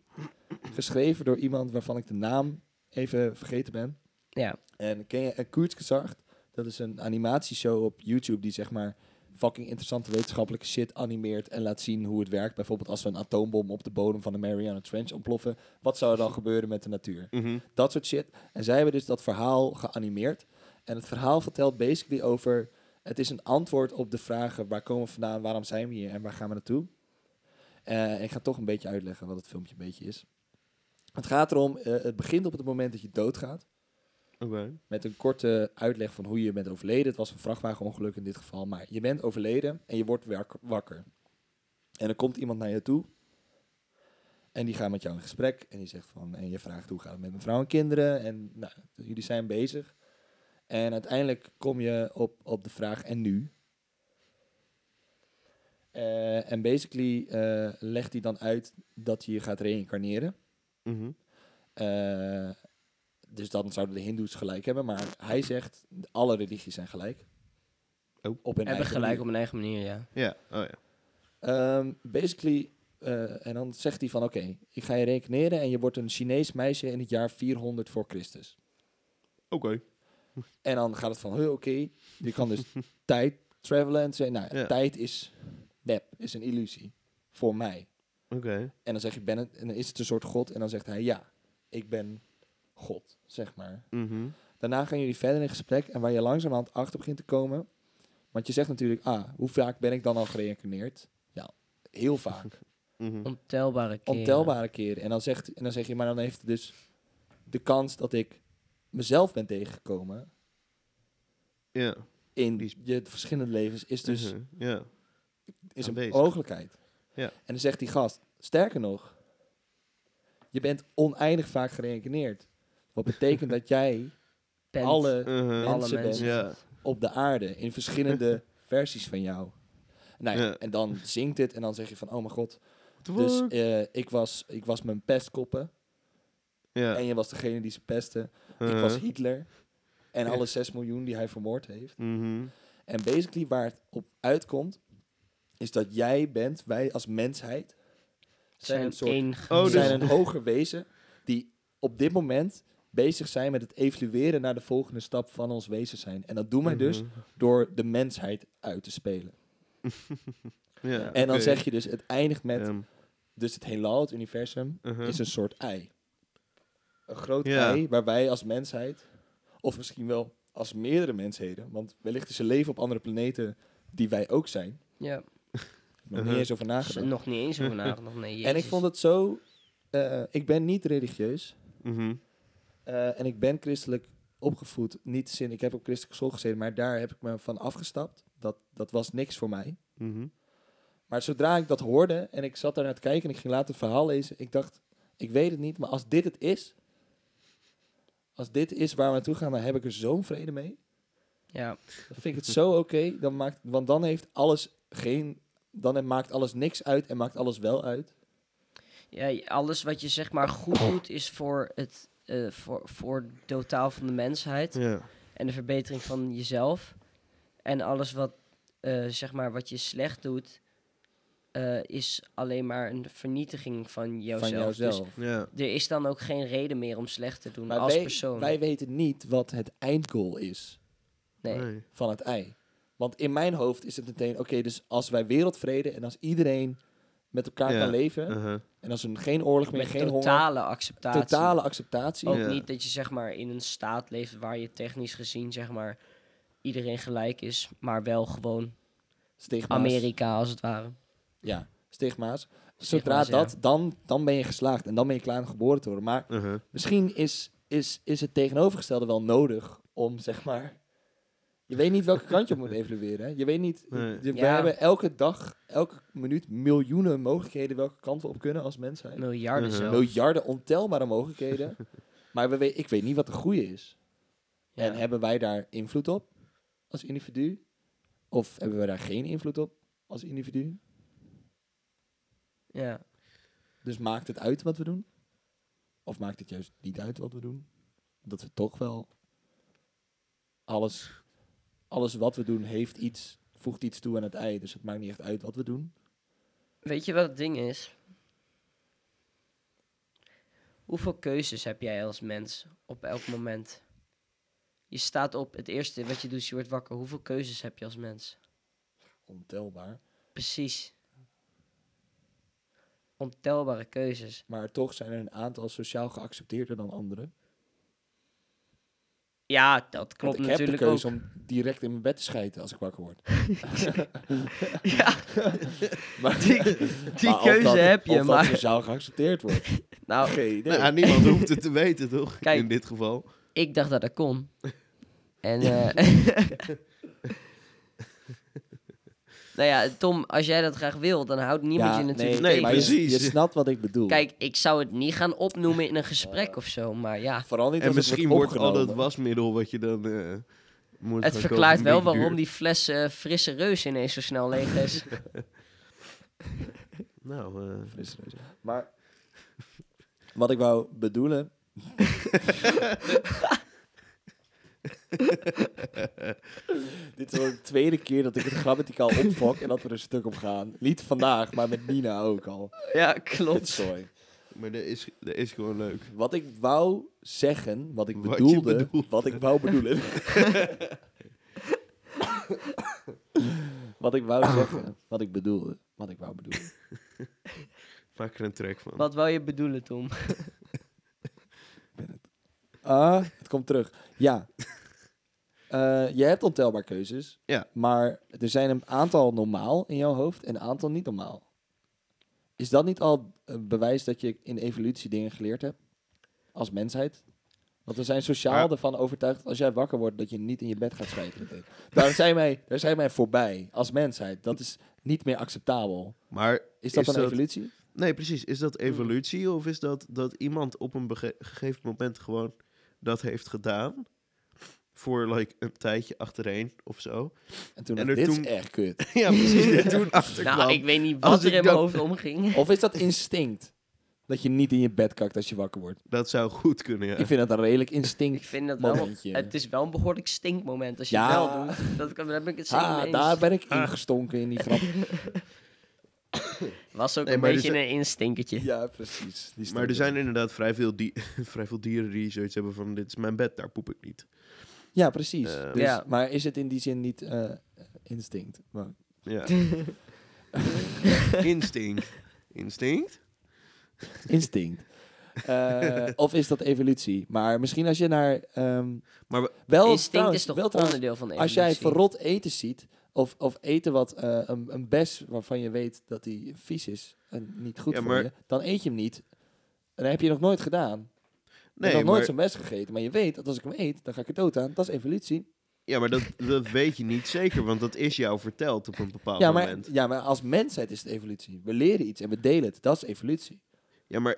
geschreven door iemand waarvan ik de naam even vergeten ben.
Ja.
En ken je Kurzgesagt? Dat is een animatieshow op YouTube die zeg maar fucking interessante wetenschappelijke shit animeert en laat zien hoe het werkt. Bijvoorbeeld als we een atoombom op de bodem van de Mariana Trench ontploffen, wat zou er dan gebeuren met de natuur?
Mhm.
Dat soort shit. En zij hebben dus dat verhaal geanimeerd. En het verhaal vertelt basically over... Het is een antwoord op de vragen... waar komen we vandaan, waarom zijn we hier en waar gaan we naartoe? Eh, ik ga toch een beetje uitleggen wat het filmpje een beetje is. Het gaat erom, eh, het begint op het moment dat je doodgaat.
Oké.
Met een korte uitleg van hoe je bent overleden. Het was een vrachtwagenongeluk in dit geval. Maar je bent overleden en je wordt wak- wakker. En er komt iemand naar je toe. En die gaat met jou in gesprek. En die zegt van, en je vraagt hoe gaat het met mijn vrouw en kinderen. En nou, jullie zijn bezig. En uiteindelijk kom je op, op de vraag, en nu? Eh, en basically eh, legt hij dan uit dat je je gaat reïncarneren.
Mhm.
Eh, dus dan zouden de Hindoes gelijk hebben. Maar hij zegt, alle religies zijn gelijk.
Oh.
Op hun
Hebben
eigen
gelijk
manier.
op mijn eigen manier, ja.
Ja, oh ja.
Ehm, basically, eh, en dan zegt hij van, oké, ik ga je rekeneren en je wordt een Chinees meisje in het jaar 400 voor Christus.
Oké.
En dan gaat het van, huh, oké, je kan dus tijd travelen en zeggen, nou,
Ja.
tijd is nep, is een illusie. Voor mij.
Oké.
En dan zeg je, ben het, en dan is het een soort God? En dan zegt hij, ja, ik ben God, zeg maar.
Mhm.
Daarna gaan jullie verder in gesprek en waar je langzaam aan het achter begint te komen. Want je zegt natuurlijk, ah, hoe vaak ben ik dan al gereïncarneerd? Ja, heel vaak.
Mhm.
Ontelbare keren.
Ontelbare keren. En dan, zegt, en dan zeg je, maar dan heeft het dus de kans dat ik mezelf ben tegengekomen
Ja. Die
in
is-
je verschillende levens is dus
Mhm. Ja.
is een
aanwezig.
mogelijkheid.
Ja.
En dan zegt die gast, sterker nog, je bent oneindig vaak gereïncarneerd. Wat betekent dat jij
Pent.
alle
Mhm.
alle
mensen
mensen.
bent.
Ja.
op de aarde in verschillende versies van jou. Nou ja,
Ja.
En dan zingt het en dan zeg je van, oh mijn god. Dus
Dus,
eh, ik, was, ik was mijn pestkoppen
ja.
en je was degene die ze pestte. Ik was
Mhm.
Hitler en
Ja.
alle 6 miljoen die hij vermoord heeft.
Mhm.
En basically waar het op uitkomt, is dat jij bent, wij als mensheid, zijn
zijn
een soort...
één
Oh,
We
dus-
zijn een hoger wezen die op dit moment bezig zijn met het evalueren naar de volgende stap van ons wezen zijn. En dat doen wij dus
Mhm.
door de mensheid uit te spelen.
Ja,
En dan
oké.
zeg je dus, het eindigt met,
Ehm,
dus het heelal, het universum,
mhm.
is een soort ei. Een groot
Ja.
ei waar wij als mensheid, of misschien wel als meerdere mensheden, want wellicht is er leven op andere planeten die wij ook zijn.
Ja,
Ik heb nog niet
Mhm.
eens over
s-
nagedacht.
nog niet eens over nagedacht. Nee,
En ik
jezus.
vond het zo, eh, ik ben niet religieus
Mhm.
eh, en ik ben christelijk opgevoed. Niet zin, ik heb op christelijke school gezeten, maar daar heb ik me van afgestapt. Dat, dat was niks voor mij.
Mhm.
Maar zodra ik dat hoorde en ik zat daar naar te kijken en ik ging later het verhaal lezen, ik dacht, ik weet het niet, maar als dit het is, als dit is waar we naartoe gaan, dan heb ik er zo'n vrede mee.
Ja,
Dan vind ik het zo oké, dan maakt, want dan heeft alles geen, dan maakt alles niks uit en maakt alles wel uit.
ja, je- alles wat je zeg maar goed doet is voor het... eh, voor, voor het totaal van de mensheid.
Ja.
en de verbetering van jezelf. En alles wat, eh, zeg maar, wat je slecht doet, eh, is alleen maar een vernietiging van jouzelf.
Van jouzelf.
Dus
Ja.
er is dan ook geen reden meer om slecht te doen
maar
als
wij,
persoon.
wij weten niet wat het eindgoal is
nee.
Nee.
van het ei. Want in mijn hoofd is het meteen, oké, dus als wij wereldvrede en als iedereen met elkaar
Ja.
kan leven,
Mhm.
en als er geen oorlog meer,
Met
geen honger,
totale acceptatie.
totale acceptatie.
Ook
Ja.
niet dat je zeg maar in een staat leeft waar je technisch gezien zeg maar iedereen gelijk is, maar wel gewoon
Stigma's.
Amerika als het ware.
Ja, stigma's. Zodra
Stigma's, ja.
dat, dan, dan ben je geslaagd en dan ben je klaar om geboren te worden. Maar
Mhm.
misschien is, is, is het tegenovergestelde wel nodig om, zeg maar... Je weet niet welke kant je op moet evalueren. hè. Je weet niet...
Nee.
je- We
Ja.
hebben elke dag, elke minuut miljoenen mogelijkheden welke kant we op kunnen als mensheid.
Miljarden
Mhm.
zelfs.
Miljarden ontelbare mogelijkheden. maar we weet, ik weet niet wat de goede is.
Ja.
En hebben wij daar invloed op als individu? Of hebben we daar geen invloed op als individu?
Ja.
Dus maakt het uit wat we doen? Of maakt het juist niet uit wat we doen? Dat we toch wel alles, alles wat we doen heeft iets, voegt iets toe aan het ei. Dus het maakt niet echt uit wat we doen.
Weet je wat het ding is? Hoeveel keuzes heb jij als mens op elk moment? Je staat op, het eerste wat je doet, is je wordt wakker. Hoeveel keuzes heb je als mens?
Ontelbaar.
Precies. Ontelbare keuzes.
Maar toch zijn er een aantal sociaal geaccepteerder dan anderen.
Ja, dat
Want
klopt
ik heb de
natuurlijk ook.
keuze om direct in mijn bed te schijten als ik wakker word.
Ja,
Maar,
die, die
maar of
keuze
dat-
heb je,
of dat
maar...
sociaal geaccepteerd wordt.
Nou,
Geen idee.
Nou, ja, niemand hoeft het te weten, toch?
Kijk.
In dit geval.
ik dacht dat dat kon. En, eh nou ja, Tom, als jij dat graag wil, dan houdt niemand
Ja,
je natuurlijk
nee,
tegen.
maar
precies.
Je, je snapt wat ik bedoel.
Kijk, ik zou het niet gaan opnoemen in een gesprek of zo, maar ja.
Vooral niet
En
als het
misschien
wordt
wordt al dat
opgenomen.
wasmiddel wat je dan eh, moet
Het
gaan
verklaart
kopen
wel
een beetje
waarom
duur.
die fles eh, frisse reus ineens zo snel leeg is.
Nou, eh,
Frisse reus. Maar wat ik wou bedoelen... Dit is al de tweede keer dat ik het grammaticaal opfok en dat we er een stuk op gaan. Niet vandaag, maar met Nina ook al.
ja, klopt.
Sorry.
maar dat is, dat is gewoon leuk.
Wat ik wou zeggen, wat ik
Wat je
bedoelde,
bedoelt.
wat ik wou bedoelen. wat ik wou zeggen, wat ik bedoelde, wat ik wou bedoelen.
Maak er een track van.
Wat wou je bedoelen, Tom?
Ah, het komt terug. Ja. Eh, je hebt ontelbaar keuzes.
Ja.
Maar er zijn een aantal normaal in jouw hoofd en een aantal niet normaal. Is dat niet al een bewijs dat je in evolutie dingen geleerd hebt? Als mensheid? Want we zijn sociaal
Ja.
ervan overtuigd dat als jij wakker wordt dat je niet in je bed gaat schijten. meteen. Daar zijn, wij, daar zijn wij voorbij als mensheid. Dat is niet meer acceptabel.
Maar
Is dat een evolutie?
Nee, precies. Is
Hmm.
dat evolutie of is dat dat iemand op een bege- gegeven moment gewoon dat heeft gedaan? Voor like, een tijdje achtereen of zo.
En toen
En
dacht,
er
dit
toen-
is echt kut.
ja, precies. En toen achterkwam.
Nou, ik weet niet
Als
wat
ik
er in
dat-
mijn hoofd omging.
Of is dat instinct? Dat je niet in je bed kakt als je wakker wordt.
Dat zou goed kunnen, ja.
Ik vind dat een redelijk instinct.
Ik vind dat wel...
Momentje.
Het is wel een behoorlijk stinkmoment als je
Ja.
het wel doet. Dat, kan- daar ben ik het zeker
Ah,
mee
daar
eens.
ben ik ingestonken in die grap.
Was ook
Nee,
een
maar dus-
beetje
er zijn-
een instinkertje.
ja, precies. Die
maar er zijn inderdaad vrij veel, die vrij veel dieren die zoiets hebben van... dit is mijn bed, daar poep ik niet.
Ja, precies.
Eh,
Dus-
Ja.
Maar is het in die zin niet eh, instinct? Maar,
Ja. Instinct. Instinct?
instinct. Eh, of is dat evolutie? Maar misschien als je naar... ehm,
Maar we-
wel,
Instinct
trouwens-
is toch
wel trouwens,
onderdeel van de
Als jij
evolutie?
verrot eten ziet... Of, of eten wat eh, een, een bes waarvan je weet dat die vies is en niet goed
Ja,
voor
maar-
je, dan eet je hem niet. En dat heb je nog nooit gedaan. Nee,
Nee,
nog nooit
maar,
zo'n bes gegeten. Maar je weet dat als ik hem eet, dan ga ik er dood aan. Dat is evolutie.
ja, maar dat, dat weet je niet zeker, want dat is jou verteld op een bepaald
Ja maar,
moment.
ja, maar als mensheid is het evolutie. We leren iets en we delen het. Dat is evolutie.
Ja, maar...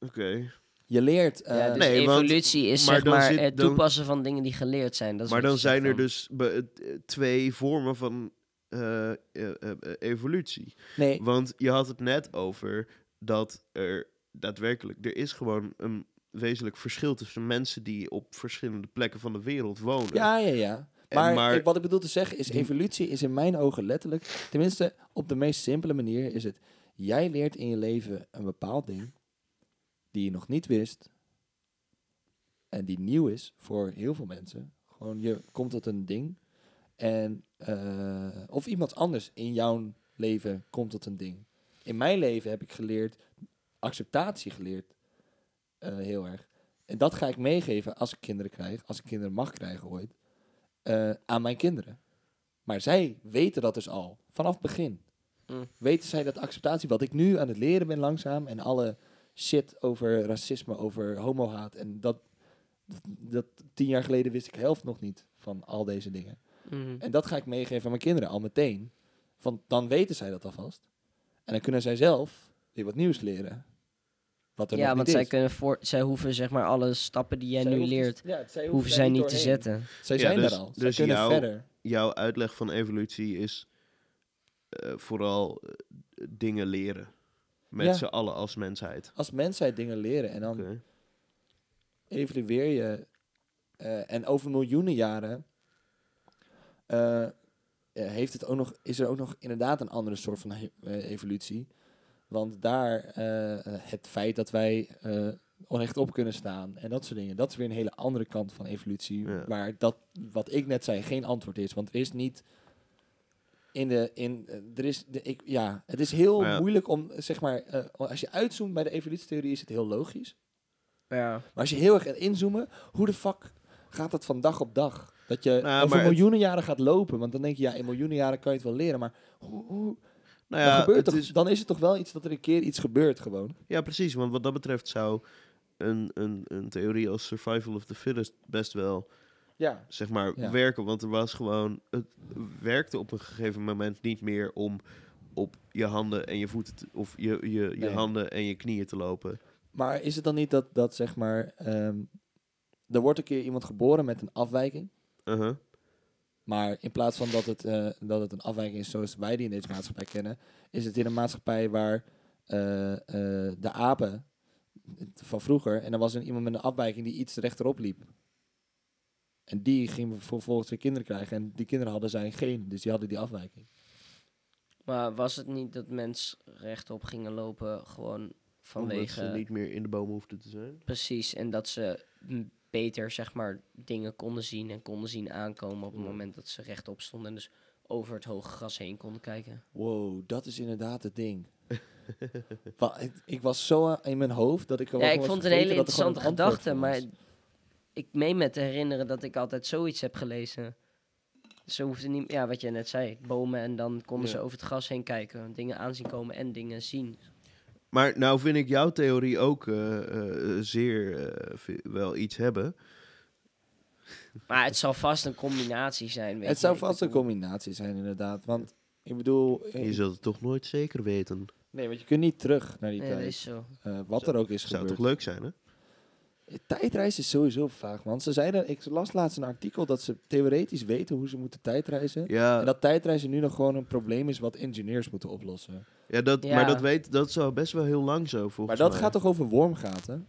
Oké.
Je leert... eh,
Ja, dus
Nee, want-
evolutie is
maar
zeg
dan
maar
zit-
het
dan-
toepassen van dingen die geleerd zijn. Dat is
Maar
wat
dan
je zegt
zijn er
dan.
dus be- het- eh, twee vormen van eh, eh, eh, eh, evolutie.
nee,
Want je had het net over dat er daadwerkelijk... Er is gewoon een wezenlijk verschil tussen mensen die op verschillende plekken van de wereld wonen.
ja, ja, ja.
En
Maar,
maar-
ik- wat ik bedoel te zeggen is, evolutie is in mijn ogen letterlijk... Tenminste, op de meest simpele manier is het... Jij leert in je leven een bepaald ding die je nog niet wist... en die nieuw is voor heel veel mensen. Gewoon, je komt tot een ding en... eh, of iemand anders in jouw leven komt tot een ding. In mijn leven heb ik geleerd, acceptatie geleerd, eh, heel erg. En dat ga ik meegeven als ik kinderen krijg, als ik kinderen mag krijgen ooit, eh, aan mijn kinderen. Maar zij weten dat dus al, vanaf het begin.
Mm.
Weten zij dat acceptatie, wat ik nu aan het leren ben langzaam, en alle shit over racisme, over homohaat, en dat, dat, dat tien jaar geleden wist ik helft nog niet van al deze dingen.
dus-
Mhm.
En dat ga ik meegeven aan mijn kinderen al meteen. Want dan weten zij dat alvast. En dan kunnen zij zelf weer wat nieuws leren. Wat er
Ja,
nog
want
niet
zij,
is.
kunnen voor, zij hoeven zeg maar alle stappen die jij
Zij
nu
hoeft-
leert,
ja, zij
hoeven
daar
zij niet te
doorheen.
zetten.
Zij
Ja,
zijn
dus-
er al.
dus
zij kunnen
jouw-
verder.
Jouw uitleg van evolutie is eh, vooral eh, dingen leren. Met
Ja.
z'n allen als mensheid.
Als mensheid dingen leren en dan
Oké. Nou
evalueer je. eh, en over miljoenen jaren eh, eh, heeft het ook nog, is er ook nog inderdaad een andere soort van he- eh, evolutie. Want daar eh, eh, het feit dat wij eh onrecht op kunnen staan en dat soort dingen, dat is weer een hele andere kant van evolutie.
Ja.
Waar dat, wat ik net zei, geen antwoord is. Want er is niet. In de, in, eh, er is de, ik, ja, het is heel
Maar ja.
moeilijk om, zeg maar, eh, als je uitzoomt bij de evolutietheorie is het heel logisch.
Ja.
Maar als je heel erg gaat inzoomen, hoe de fuck gaat dat van dag op dag? Dat je
Nou,
over
maar het-
miljoenen jaren gaat lopen. Want dan denk je, ja, in miljoenen jaren kan je het wel leren. Maar hoe, hoe,
Nou
dan,
ja,
gebeurt
het
toch,
is,
dan is het toch wel iets dat er een keer iets gebeurt gewoon.
ja, precies. Want wat dat betreft zou een, een, een theorie als survival of the fittest best wel,
Ja.
zeg maar,
Ja.
werken. Want er was gewoon, het werkte op een gegeven moment niet meer om op je handen en je voeten, te- of je, je, je
Nee.
handen en je knieën te lopen.
Maar is het dan niet dat, dat zeg maar... ehm, er wordt een keer iemand geboren met een afwijking.
Uh-huh.
Maar in plaats van dat het, eh, dat het een afwijking is zoals wij die in deze maatschappij kennen... is het in een maatschappij waar eh, eh, de apen van vroeger... en er was een, iemand met een afwijking die iets rechterop liep. En die ging vervolgens weer kinderen krijgen. En die kinderen hadden zijn geen, dus die hadden die afwijking.
Maar was het niet dat mensen rechtop gingen lopen gewoon vanwege...
Omdat ze niet meer in de bomen hoefden te zijn.
Precies, en dat ze m- beter zeg maar dingen konden zien en konden zien aankomen op
Mm.
het moment dat ze rechtop stonden. En dus over het hoge gras heen konden kijken.
Wow, dat is inderdaad het ding. Wa- ik, ik was zo aan- in mijn hoofd dat ik...
Ja,
gewoon
ik
was
vond het een hele
vergeten dat er gewoon
interessante
een antwoord
gedachte,
voor
maar
was.
ik meen me te herinneren dat ik altijd zoiets heb gelezen. Ze hoefden niet, ja, wat jij net zei, bomen en dan konden
Ja.
ze over het gras heen kijken, dingen aanzien komen en dingen zien.
Maar nou vind ik jouw theorie ook eh, eh, zeer eh, ve- wel iets hebben.
Maar het zal vast een combinatie zijn. Weet
Het
je,
zou
ik
vast een
bedoel-
combinatie zijn inderdaad. Want ik bedoel... eh,
Je zult het toch nooit zeker weten.
Nee, want je kunt niet terug naar die
Nee,
tijd.
dat is zo.
Eh, wat er ook is
Zou
gebeurd. Eh,
toch leuk zijn, hè?
Tijdreizen is sowieso vaag, want ze zeiden, ik las laatst een artikel dat ze theoretisch weten hoe ze moeten tijdreizen.
Ja,
En dat tijdreizen nu nog gewoon een probleem is wat engineers moeten oplossen.
ja, dat,
Ja.
maar dat weet, dat zou best wel heel lang zo volgens
maar dat
mij.
gaat toch over wormgaten?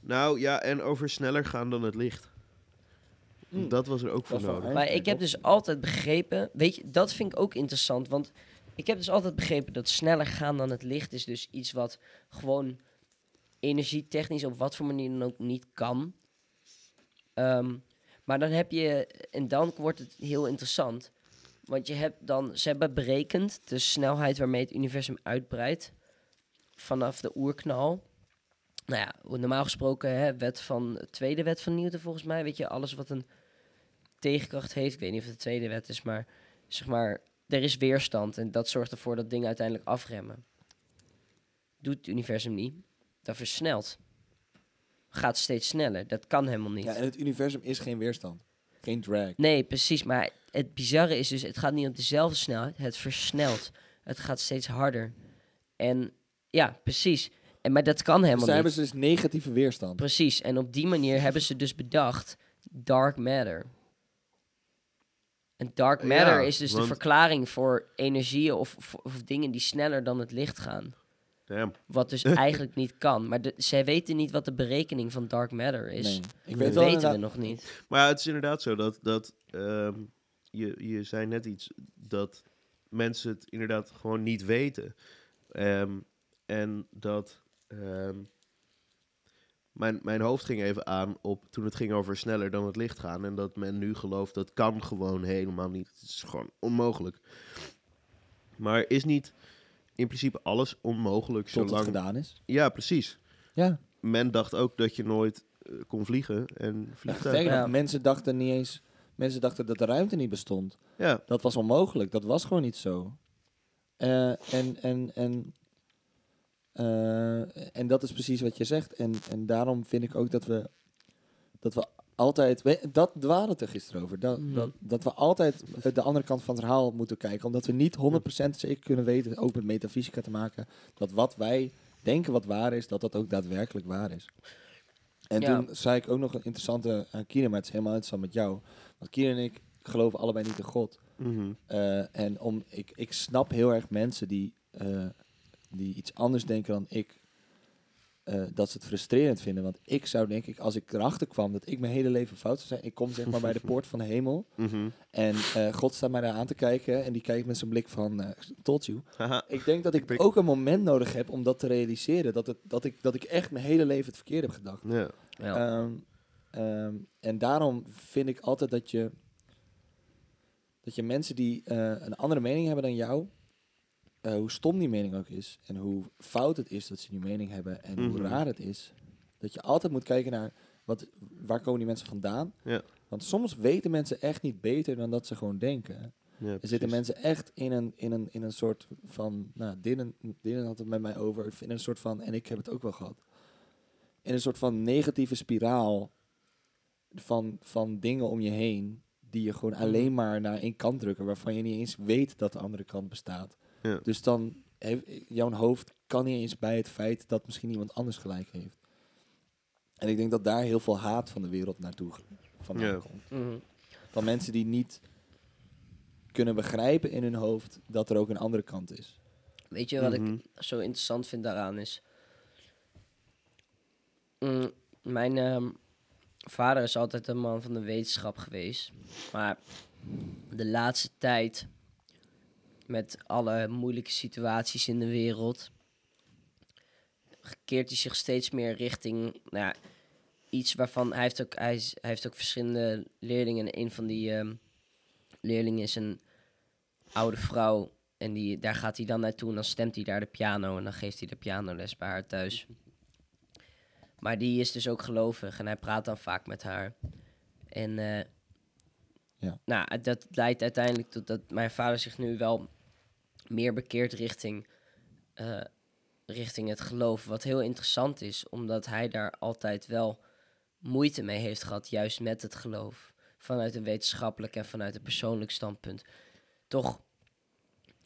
Nou ja, en over sneller gaan dan het licht.
Mm.
Dat was er ook
Dat
voor
is wel
nodig.
eind.
Maar ik heb dus altijd begrepen, weet je, dat vind ik ook interessant, want ik heb dus altijd begrepen dat sneller gaan dan het licht is dus iets wat gewoon energietechnisch op wat voor manier dan ook niet kan. Ehm, maar dan heb je, en dan wordt het heel interessant, want je hebt dan, ze hebben berekend de snelheid waarmee het universum uitbreidt vanaf de oerknal. Nou ja, normaal gesproken, hè, wet van, tweede wet van Newton volgens mij, weet je, alles wat een tegenkracht heeft. Ik weet niet of het de tweede wet is, maar zeg maar, er is weerstand en dat zorgt ervoor dat dingen uiteindelijk afremmen. Doet het universum niet, dat versnelt. Gaat steeds sneller, dat kan helemaal niet.
Ja, en het universum is geen weerstand. Geen drag. Dus
Nee, precies, maar het bizarre is dus, het gaat niet op dezelfde snelheid, het versnelt. Het gaat steeds harder. En ja, precies. En, maar dat kan
Dus
helemaal
daar
niet.
hebben ze dus negatieve weerstand.
Precies, en op die manier hebben ze dus bedacht dark matter. En dark
Ja,
matter is dus
want-
de verklaring voor energieën of, of, of dingen die sneller dan het licht gaan.
Damn.
Wat dus eigenlijk niet kan. Maar de, zij weten niet wat de berekening van dark matter is.
Nee. Ik
Dat
wel
weten we
inderdaad-
nog niet.
Maar ja, het is inderdaad zo dat, dat ehm, je, je zei net iets dat mensen het inderdaad gewoon niet weten. Ehm, en dat ehm, mijn, mijn hoofd ging even aan op toen het ging over sneller dan het licht gaan. En dat men nu gelooft dat kan gewoon helemaal niet. Het is gewoon onmogelijk. Maar is niet in principe alles onmogelijk
Tot het
zolang.
gedaan is.
Ja, precies.
Ja.
Men dacht ook dat je nooit eh, kon vliegen en vliegtuigen.
Sterker
Ja.
nog, mensen dachten niet eens... Mensen dachten dat de ruimte niet bestond.
Ja,
Dat was onmogelijk. Dat was gewoon niet zo. Eh, en, en, en, eh, en dat is precies wat je zegt. En, en daarom vind ik ook dat we, dat we altijd... we- Dat we hadden het er gisteren over. Dat,
Mhm.
dat, dat we altijd eh, de andere kant van het verhaal moeten kijken. Omdat we niet 100% zeker kunnen weten, ook met metafysica te maken... dat wat wij denken wat waar is, dat dat ook daadwerkelijk waar is. En
Ja.
toen zei ik ook nog een interessante aan Kieran, maar het is helemaal interessant met jou. Want Kieran en ik geloven allebei niet in God.
mhm.
Eh, en om, ik, ik snap heel erg mensen die eh, die iets anders denken dan ik, eh, dat ze het frustrerend vinden. Want ik zou denk ik, als ik erachter kwam dat ik mijn hele leven fout zou zijn, ik kom zeg maar bij de poort van de hemel
Mhm.
en eh, God staat mij daar aan te kijken en die kijkt met zijn blik van, eh told you.
Haha.
Ik denk dat ik
prik-
ook een moment nodig heb om dat te realiseren, dat, het, dat, ik, dat ik echt mijn hele leven het verkeerd heb gedacht.
ja.
Ja.
Ehm, ehm, en daarom vind ik altijd dat je, dat je mensen die eh, een andere mening hebben dan jou, eh, hoe stom die mening ook is en hoe fout het is dat ze die mening hebben en hoe
Mhm.
raar het is, dat je altijd moet kijken naar wat, waar komen die mensen vandaan.
Ja.
Want soms weten mensen echt niet beter dan dat ze gewoon denken.
Ja,
Er zitten
precies.
mensen echt in een, in een, in een soort van... Nou, Dylan, Dylan had het met mij over. In een soort van... En ik heb het ook wel gehad. In een soort van negatieve spiraal van, van dingen om je heen... die je
Mhm.
gewoon alleen maar naar één kant drukken... waarvan je niet eens weet dat de andere kant bestaat.
Ja.
Dus dan... Hef, jouw hoofd kan niet eens bij het feit... dat misschien iemand anders gelijk heeft. En ik denk dat daar heel veel haat van de wereld naartoe ge- vandaan
Ja.
komt
Mhm.
van mensen die niet kunnen begrijpen in hun hoofd dat er ook een andere kant is.
Weet je wat ik
Mhm.
zo interessant vind daaraan is. Mm, mijn ehm, vader is altijd een man van de wetenschap geweest. Maar de laatste tijd, met alle moeilijke situaties in de wereld, keert hij zich steeds meer richting nou ja, iets waarvan hij heeft ook, hij, is- hij heeft ook verschillende leerlingen. En een van die ehm, leerlingen is een oude vrouw. En die, daar gaat hij dan naartoe en dan stemt hij daar de piano en dan geeft hij de pianoles bij haar thuis. Maar die is dus ook gelovig en hij praat dan vaak met haar. En eh,
Ja.
nou, dat leidt uiteindelijk tot dat mijn vader zich nu wel meer bekeert richting, eh, richting het geloof. Wat heel interessant is, omdat hij daar altijd wel moeite mee heeft gehad, juist met het geloof. Vanuit een wetenschappelijk en vanuit een persoonlijk standpunt. Toch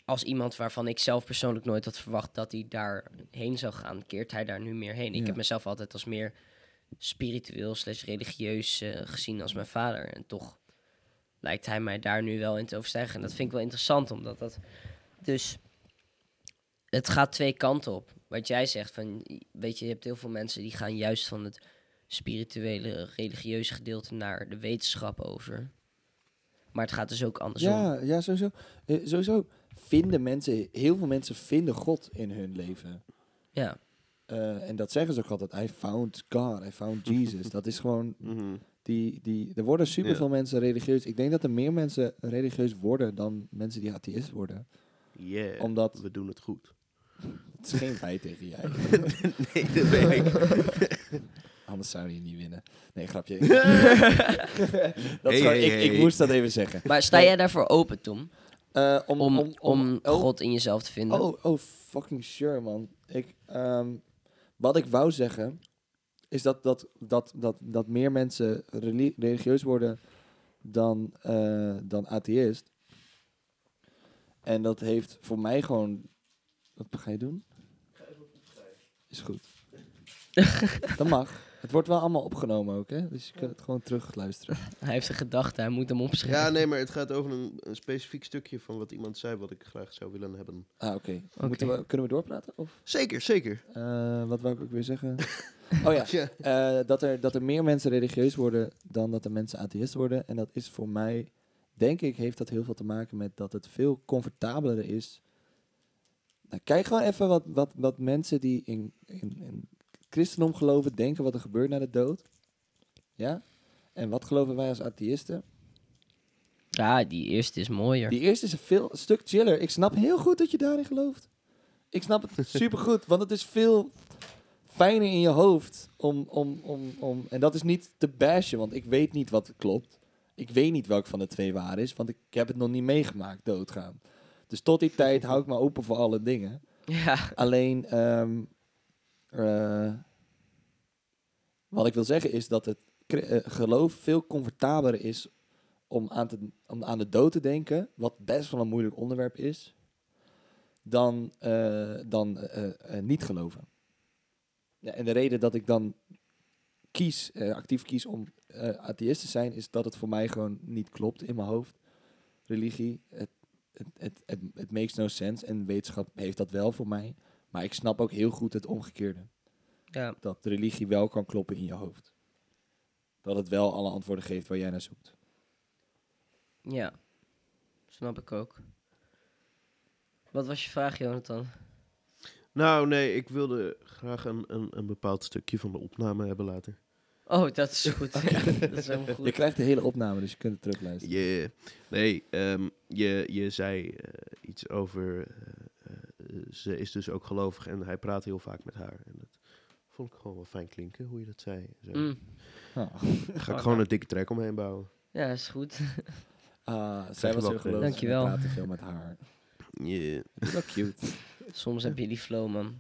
als iemand waarvan ik zelf persoonlijk nooit had verwacht dat hij daarheen zou gaan, keert hij daar nu meer heen. Ik
Ja.
heb mezelf altijd als meer spiritueel slash religieus eh, gezien als mijn vader. En toch lijkt hij mij daar nu wel in te overstijgen. En dat vind ik wel interessant, omdat dat... Dus het gaat twee kanten op. Wat jij zegt, van, weet je, je hebt heel veel mensen die gaan juist van het spirituele, religieuze gedeelte naar de wetenschap over. Maar het gaat dus ook andersom.
Ja, ja sowieso. Eh, sowieso vinden mensen, heel veel mensen vinden God in hun leven.
ja.
Eh, en dat zeggen ze ook altijd. I found God, I found Jesus. dat is gewoon,
Mhm.
die, die, er worden superveel
Ja.
mensen religieus. Ik denk dat er meer mensen religieus worden dan mensen die atheïst worden.
Yeah,
Omdat,
we doen het goed.
het is geen wij tegen jij.
nee, dat weet ik.
Anders zou je niet winnen. Nee, grapje. dat is
Hey,
gewoon-
hey,
ik,
hey.
ik moest dat even zeggen.
Maar sta jij daarvoor open, Tom?
Eh, om,
Om, om,
om, om, oh,
God in jezelf te vinden?
Oh, oh, fucking sure, man. Ik, ehm, wat ik wou zeggen, is dat, dat, dat, dat, dat meer mensen reli- religieus worden dan, eh, dan atheïst. En dat heeft voor mij gewoon... Wat ga je doen? Is goed. dat mag. Het wordt wel allemaal opgenomen ook, hè? Dus je kunt het gewoon terugluisteren.
Hij heeft een gedachte, hij moet hem opschrijven.
Ja, nee, maar het gaat over een, een specifiek stukje van wat iemand zei wat ik graag zou willen hebben.
Ah, oké. Moeten we Kunnen we doorpraten? Of,
Zeker, zeker.
eh, wat wou ik ook weer zeggen? oh ja,
Ja.
Eh, dat, er, dat er meer mensen religieus worden dan dat er mensen atheïst worden. En dat is voor mij, denk ik, heeft dat heel veel te maken met dat het veel comfortabeler is. Nou, kijk gewoon even wat, wat, wat mensen die in, in, in christendom geloven denken wat er gebeurt na de dood. Ja? En wat geloven wij als atheïsten?
Ja, die eerste is mooier.
Die eerste is een veel, een stuk chiller. Ik snap heel goed dat je daarin gelooft. Ik snap het supergoed, want het is veel fijner in je hoofd om, om, om, om... En dat is niet te bashen, want ik weet niet wat klopt. Ik weet niet welk van de twee waar is, want ik heb het nog niet meegemaakt doodgaan. Dus tot die tijd hou ik me open voor alle dingen.
Ja.
Alleen, ehm, eh, wat ik wil zeggen is dat het cre- eh, geloof veel comfortabeler is om aan, te, om aan de dood te denken, wat best wel een moeilijk onderwerp is, dan, eh, dan eh, eh, eh, niet geloven. Ja, en de reden dat ik dan kies, eh, actief kies om eh atheïst te zijn, is dat het voor mij gewoon niet klopt in mijn hoofd. Religie, het, het, het, het, het makes no sense en wetenschap heeft dat wel voor mij. Maar ik snap ook heel goed het omgekeerde.
Ja.
Dat de religie wel kan kloppen in je hoofd. Dat het wel alle antwoorden geeft waar jij naar zoekt.
Ja, snap ik ook. Wat was je vraag, Jonathan?
Nou, nee, ik wilde graag een, een, een bepaald stukje van de opname hebben later.
Oh, dat is goed. dat is helemaal
Je
goed.
krijgt de hele opname, dus je kunt het terugluisteren.
Yeah. Nee, ehm, je, je zei eh, iets over. eh, eh, ze is dus ook gelovig en hij praat heel vaak met haar. En dat vond ik gewoon wel fijn klinken hoe je dat zei. Zo.
Mm.
Ah,
Daar ga ik gewoon een dikke trek omheen bouwen.
Ja, is goed.
ah, zij
Krijg
was
je
heel
wel
geloofd.
Dankjewel.
Ik praatte veel met haar.
Yeah.
Het is wel cute.
Soms heb je die flow, man.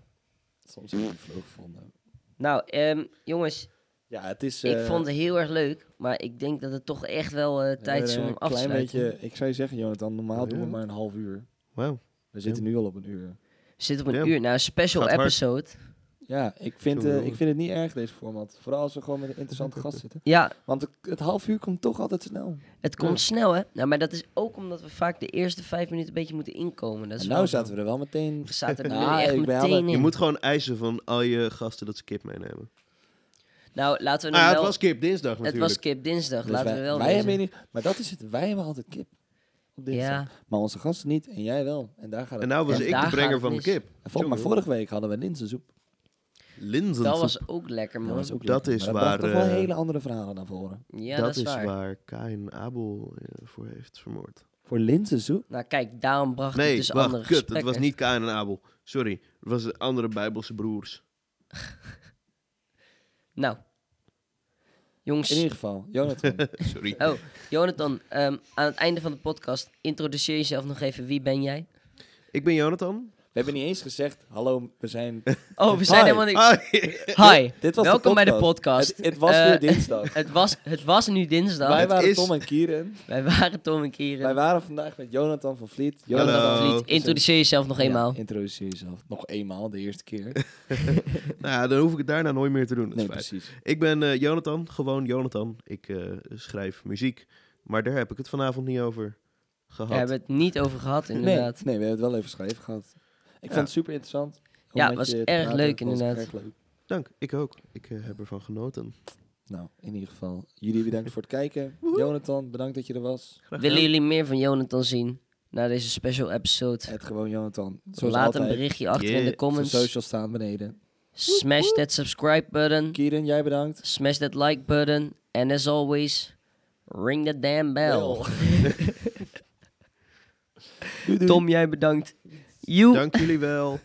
Soms heb ik het vloog gevonden.
Nou, ehm, jongens,
Ja, het is...
ik
eh,
vond het heel erg leuk. Maar ik denk dat het toch echt wel eh,
we
tijd is
hebben
om
een
af te
klein
sluiten.
beetje... Ik zou je zeggen, Jonathan, normaal doen we
Ja.
maar een half uur.
Wauw.
We zitten nu al op een uur.
We zitten op een
Damn.
uur. Nou, een special
Gaat hard.
episode.
Ja, ik vind,
Zullen we
eh, ik
doen?
vind het niet erg, deze format. Vooral als we gewoon met een interessante gast zitten.
Ja,
Want het, het half uur komt toch altijd snel.
het komt snel, hè? Nou, maar dat is ook omdat we vaak de eerste vijf minuten een beetje moeten inkomen. Dat is
En nou
wel-
zaten we er wel meteen...
We zaten er nu
Ah,
echt
ik ben
meteen
alle-
in.
Je moet gewoon eisen van al je gasten dat ze kip meenemen.
Nou, laten we nu
Ah, het
wel...
was kip dinsdag
het
natuurlijk.
was kip dinsdag,
Dus
laten
wij,
we wel
wij
wezen.
hebben niet, Maar dat is het. Wij hebben altijd kip. Op dinsdag.
Ja,
Maar onze gasten niet en jij wel. En daar gaat
En
het.
nou was
En
ik
daar
de
gaat
brenger
het
van de
mis.
kip.
En vol- maar vorige week hadden we linzensoep.
Linzen.
dat was ook lekker, man.
ook
Dat
lekker,
is
maar dat bracht
waar,
toch wel
eh,
hele andere verhalen naar voren.
Ja,
dat,
dat,
is
waar.
waar Kain Abel eh, voor heeft vermoord.
Voor linzensoep?
Nou, kijk, daarom bracht het
Nee,
dus
wacht,
andere
kut. Het
gesprekken.
was niet Kain en Abel. Sorry. Het was de andere Bijbelse broers.
Nou.
In
Jongens,
ieder geval, Jonathan.
Sorry.
Oh, Jonathan, ehm, aan het einde van de podcast introduceer jezelf nog even. Wie ben jij?
Ik ben Jonathan.
we hebben niet eens gezegd, hallo, we zijn...
Oh, we zijn
Hi.
helemaal niet...
Ah,
Hi,
Dit was
welkom bij de
Het,
podcast.
het was
Eh,
weer dinsdag.
Het was, het was nu dinsdag.
Wij
het
waren
is-
Tom en Kieren.
Wij waren Tom en
Wij
Kieren.
waren vandaag met Jonathan van Vliet. Jonathan
Jonathan
Hallo.
van Vliet, introduceer jezelf nog eenmaal.
Ja, introduceer jezelf. Nog eenmaal, de eerste keer.
Nou, ja, dan hoef ik het daarna nooit meer te doen. Dat
Nee,
is fijn.
precies.
Ik ben eh, Jonathan, gewoon Jonathan. Ik eh, schrijf muziek, maar daar heb ik het vanavond niet over gehad.
Daar hebben we het niet over gehad,
Nee, nee,
inderdaad.
we hebben het wel even geschreven gehad. Ik
Ja.
vond het super interessant. om
Ja,
met
was
je te
erg
praten.
leuk,
Het was
inderdaad.
erg leuk.
Dank, ik ook. Ik eh, heb ervan genoten.
Nou, in ieder geval, jullie bedankt voor het kijken. Jonathan, bedankt dat je er was.
Graag
Willen
gedaan.
jullie meer van Jonathan zien? Na deze special episode.
Het gewoon Jonathan. Zoals
Laat
altijd,
een berichtje achter in de
Yeah.
Zijn
comments.
socials staan beneden.
Smash that subscribe button.
Kieran, jij bedankt.
Smash that like button. And as always, ring the damn bell.
Doei, doei.
Tom, jij bedankt. You.
Dank jullie wel.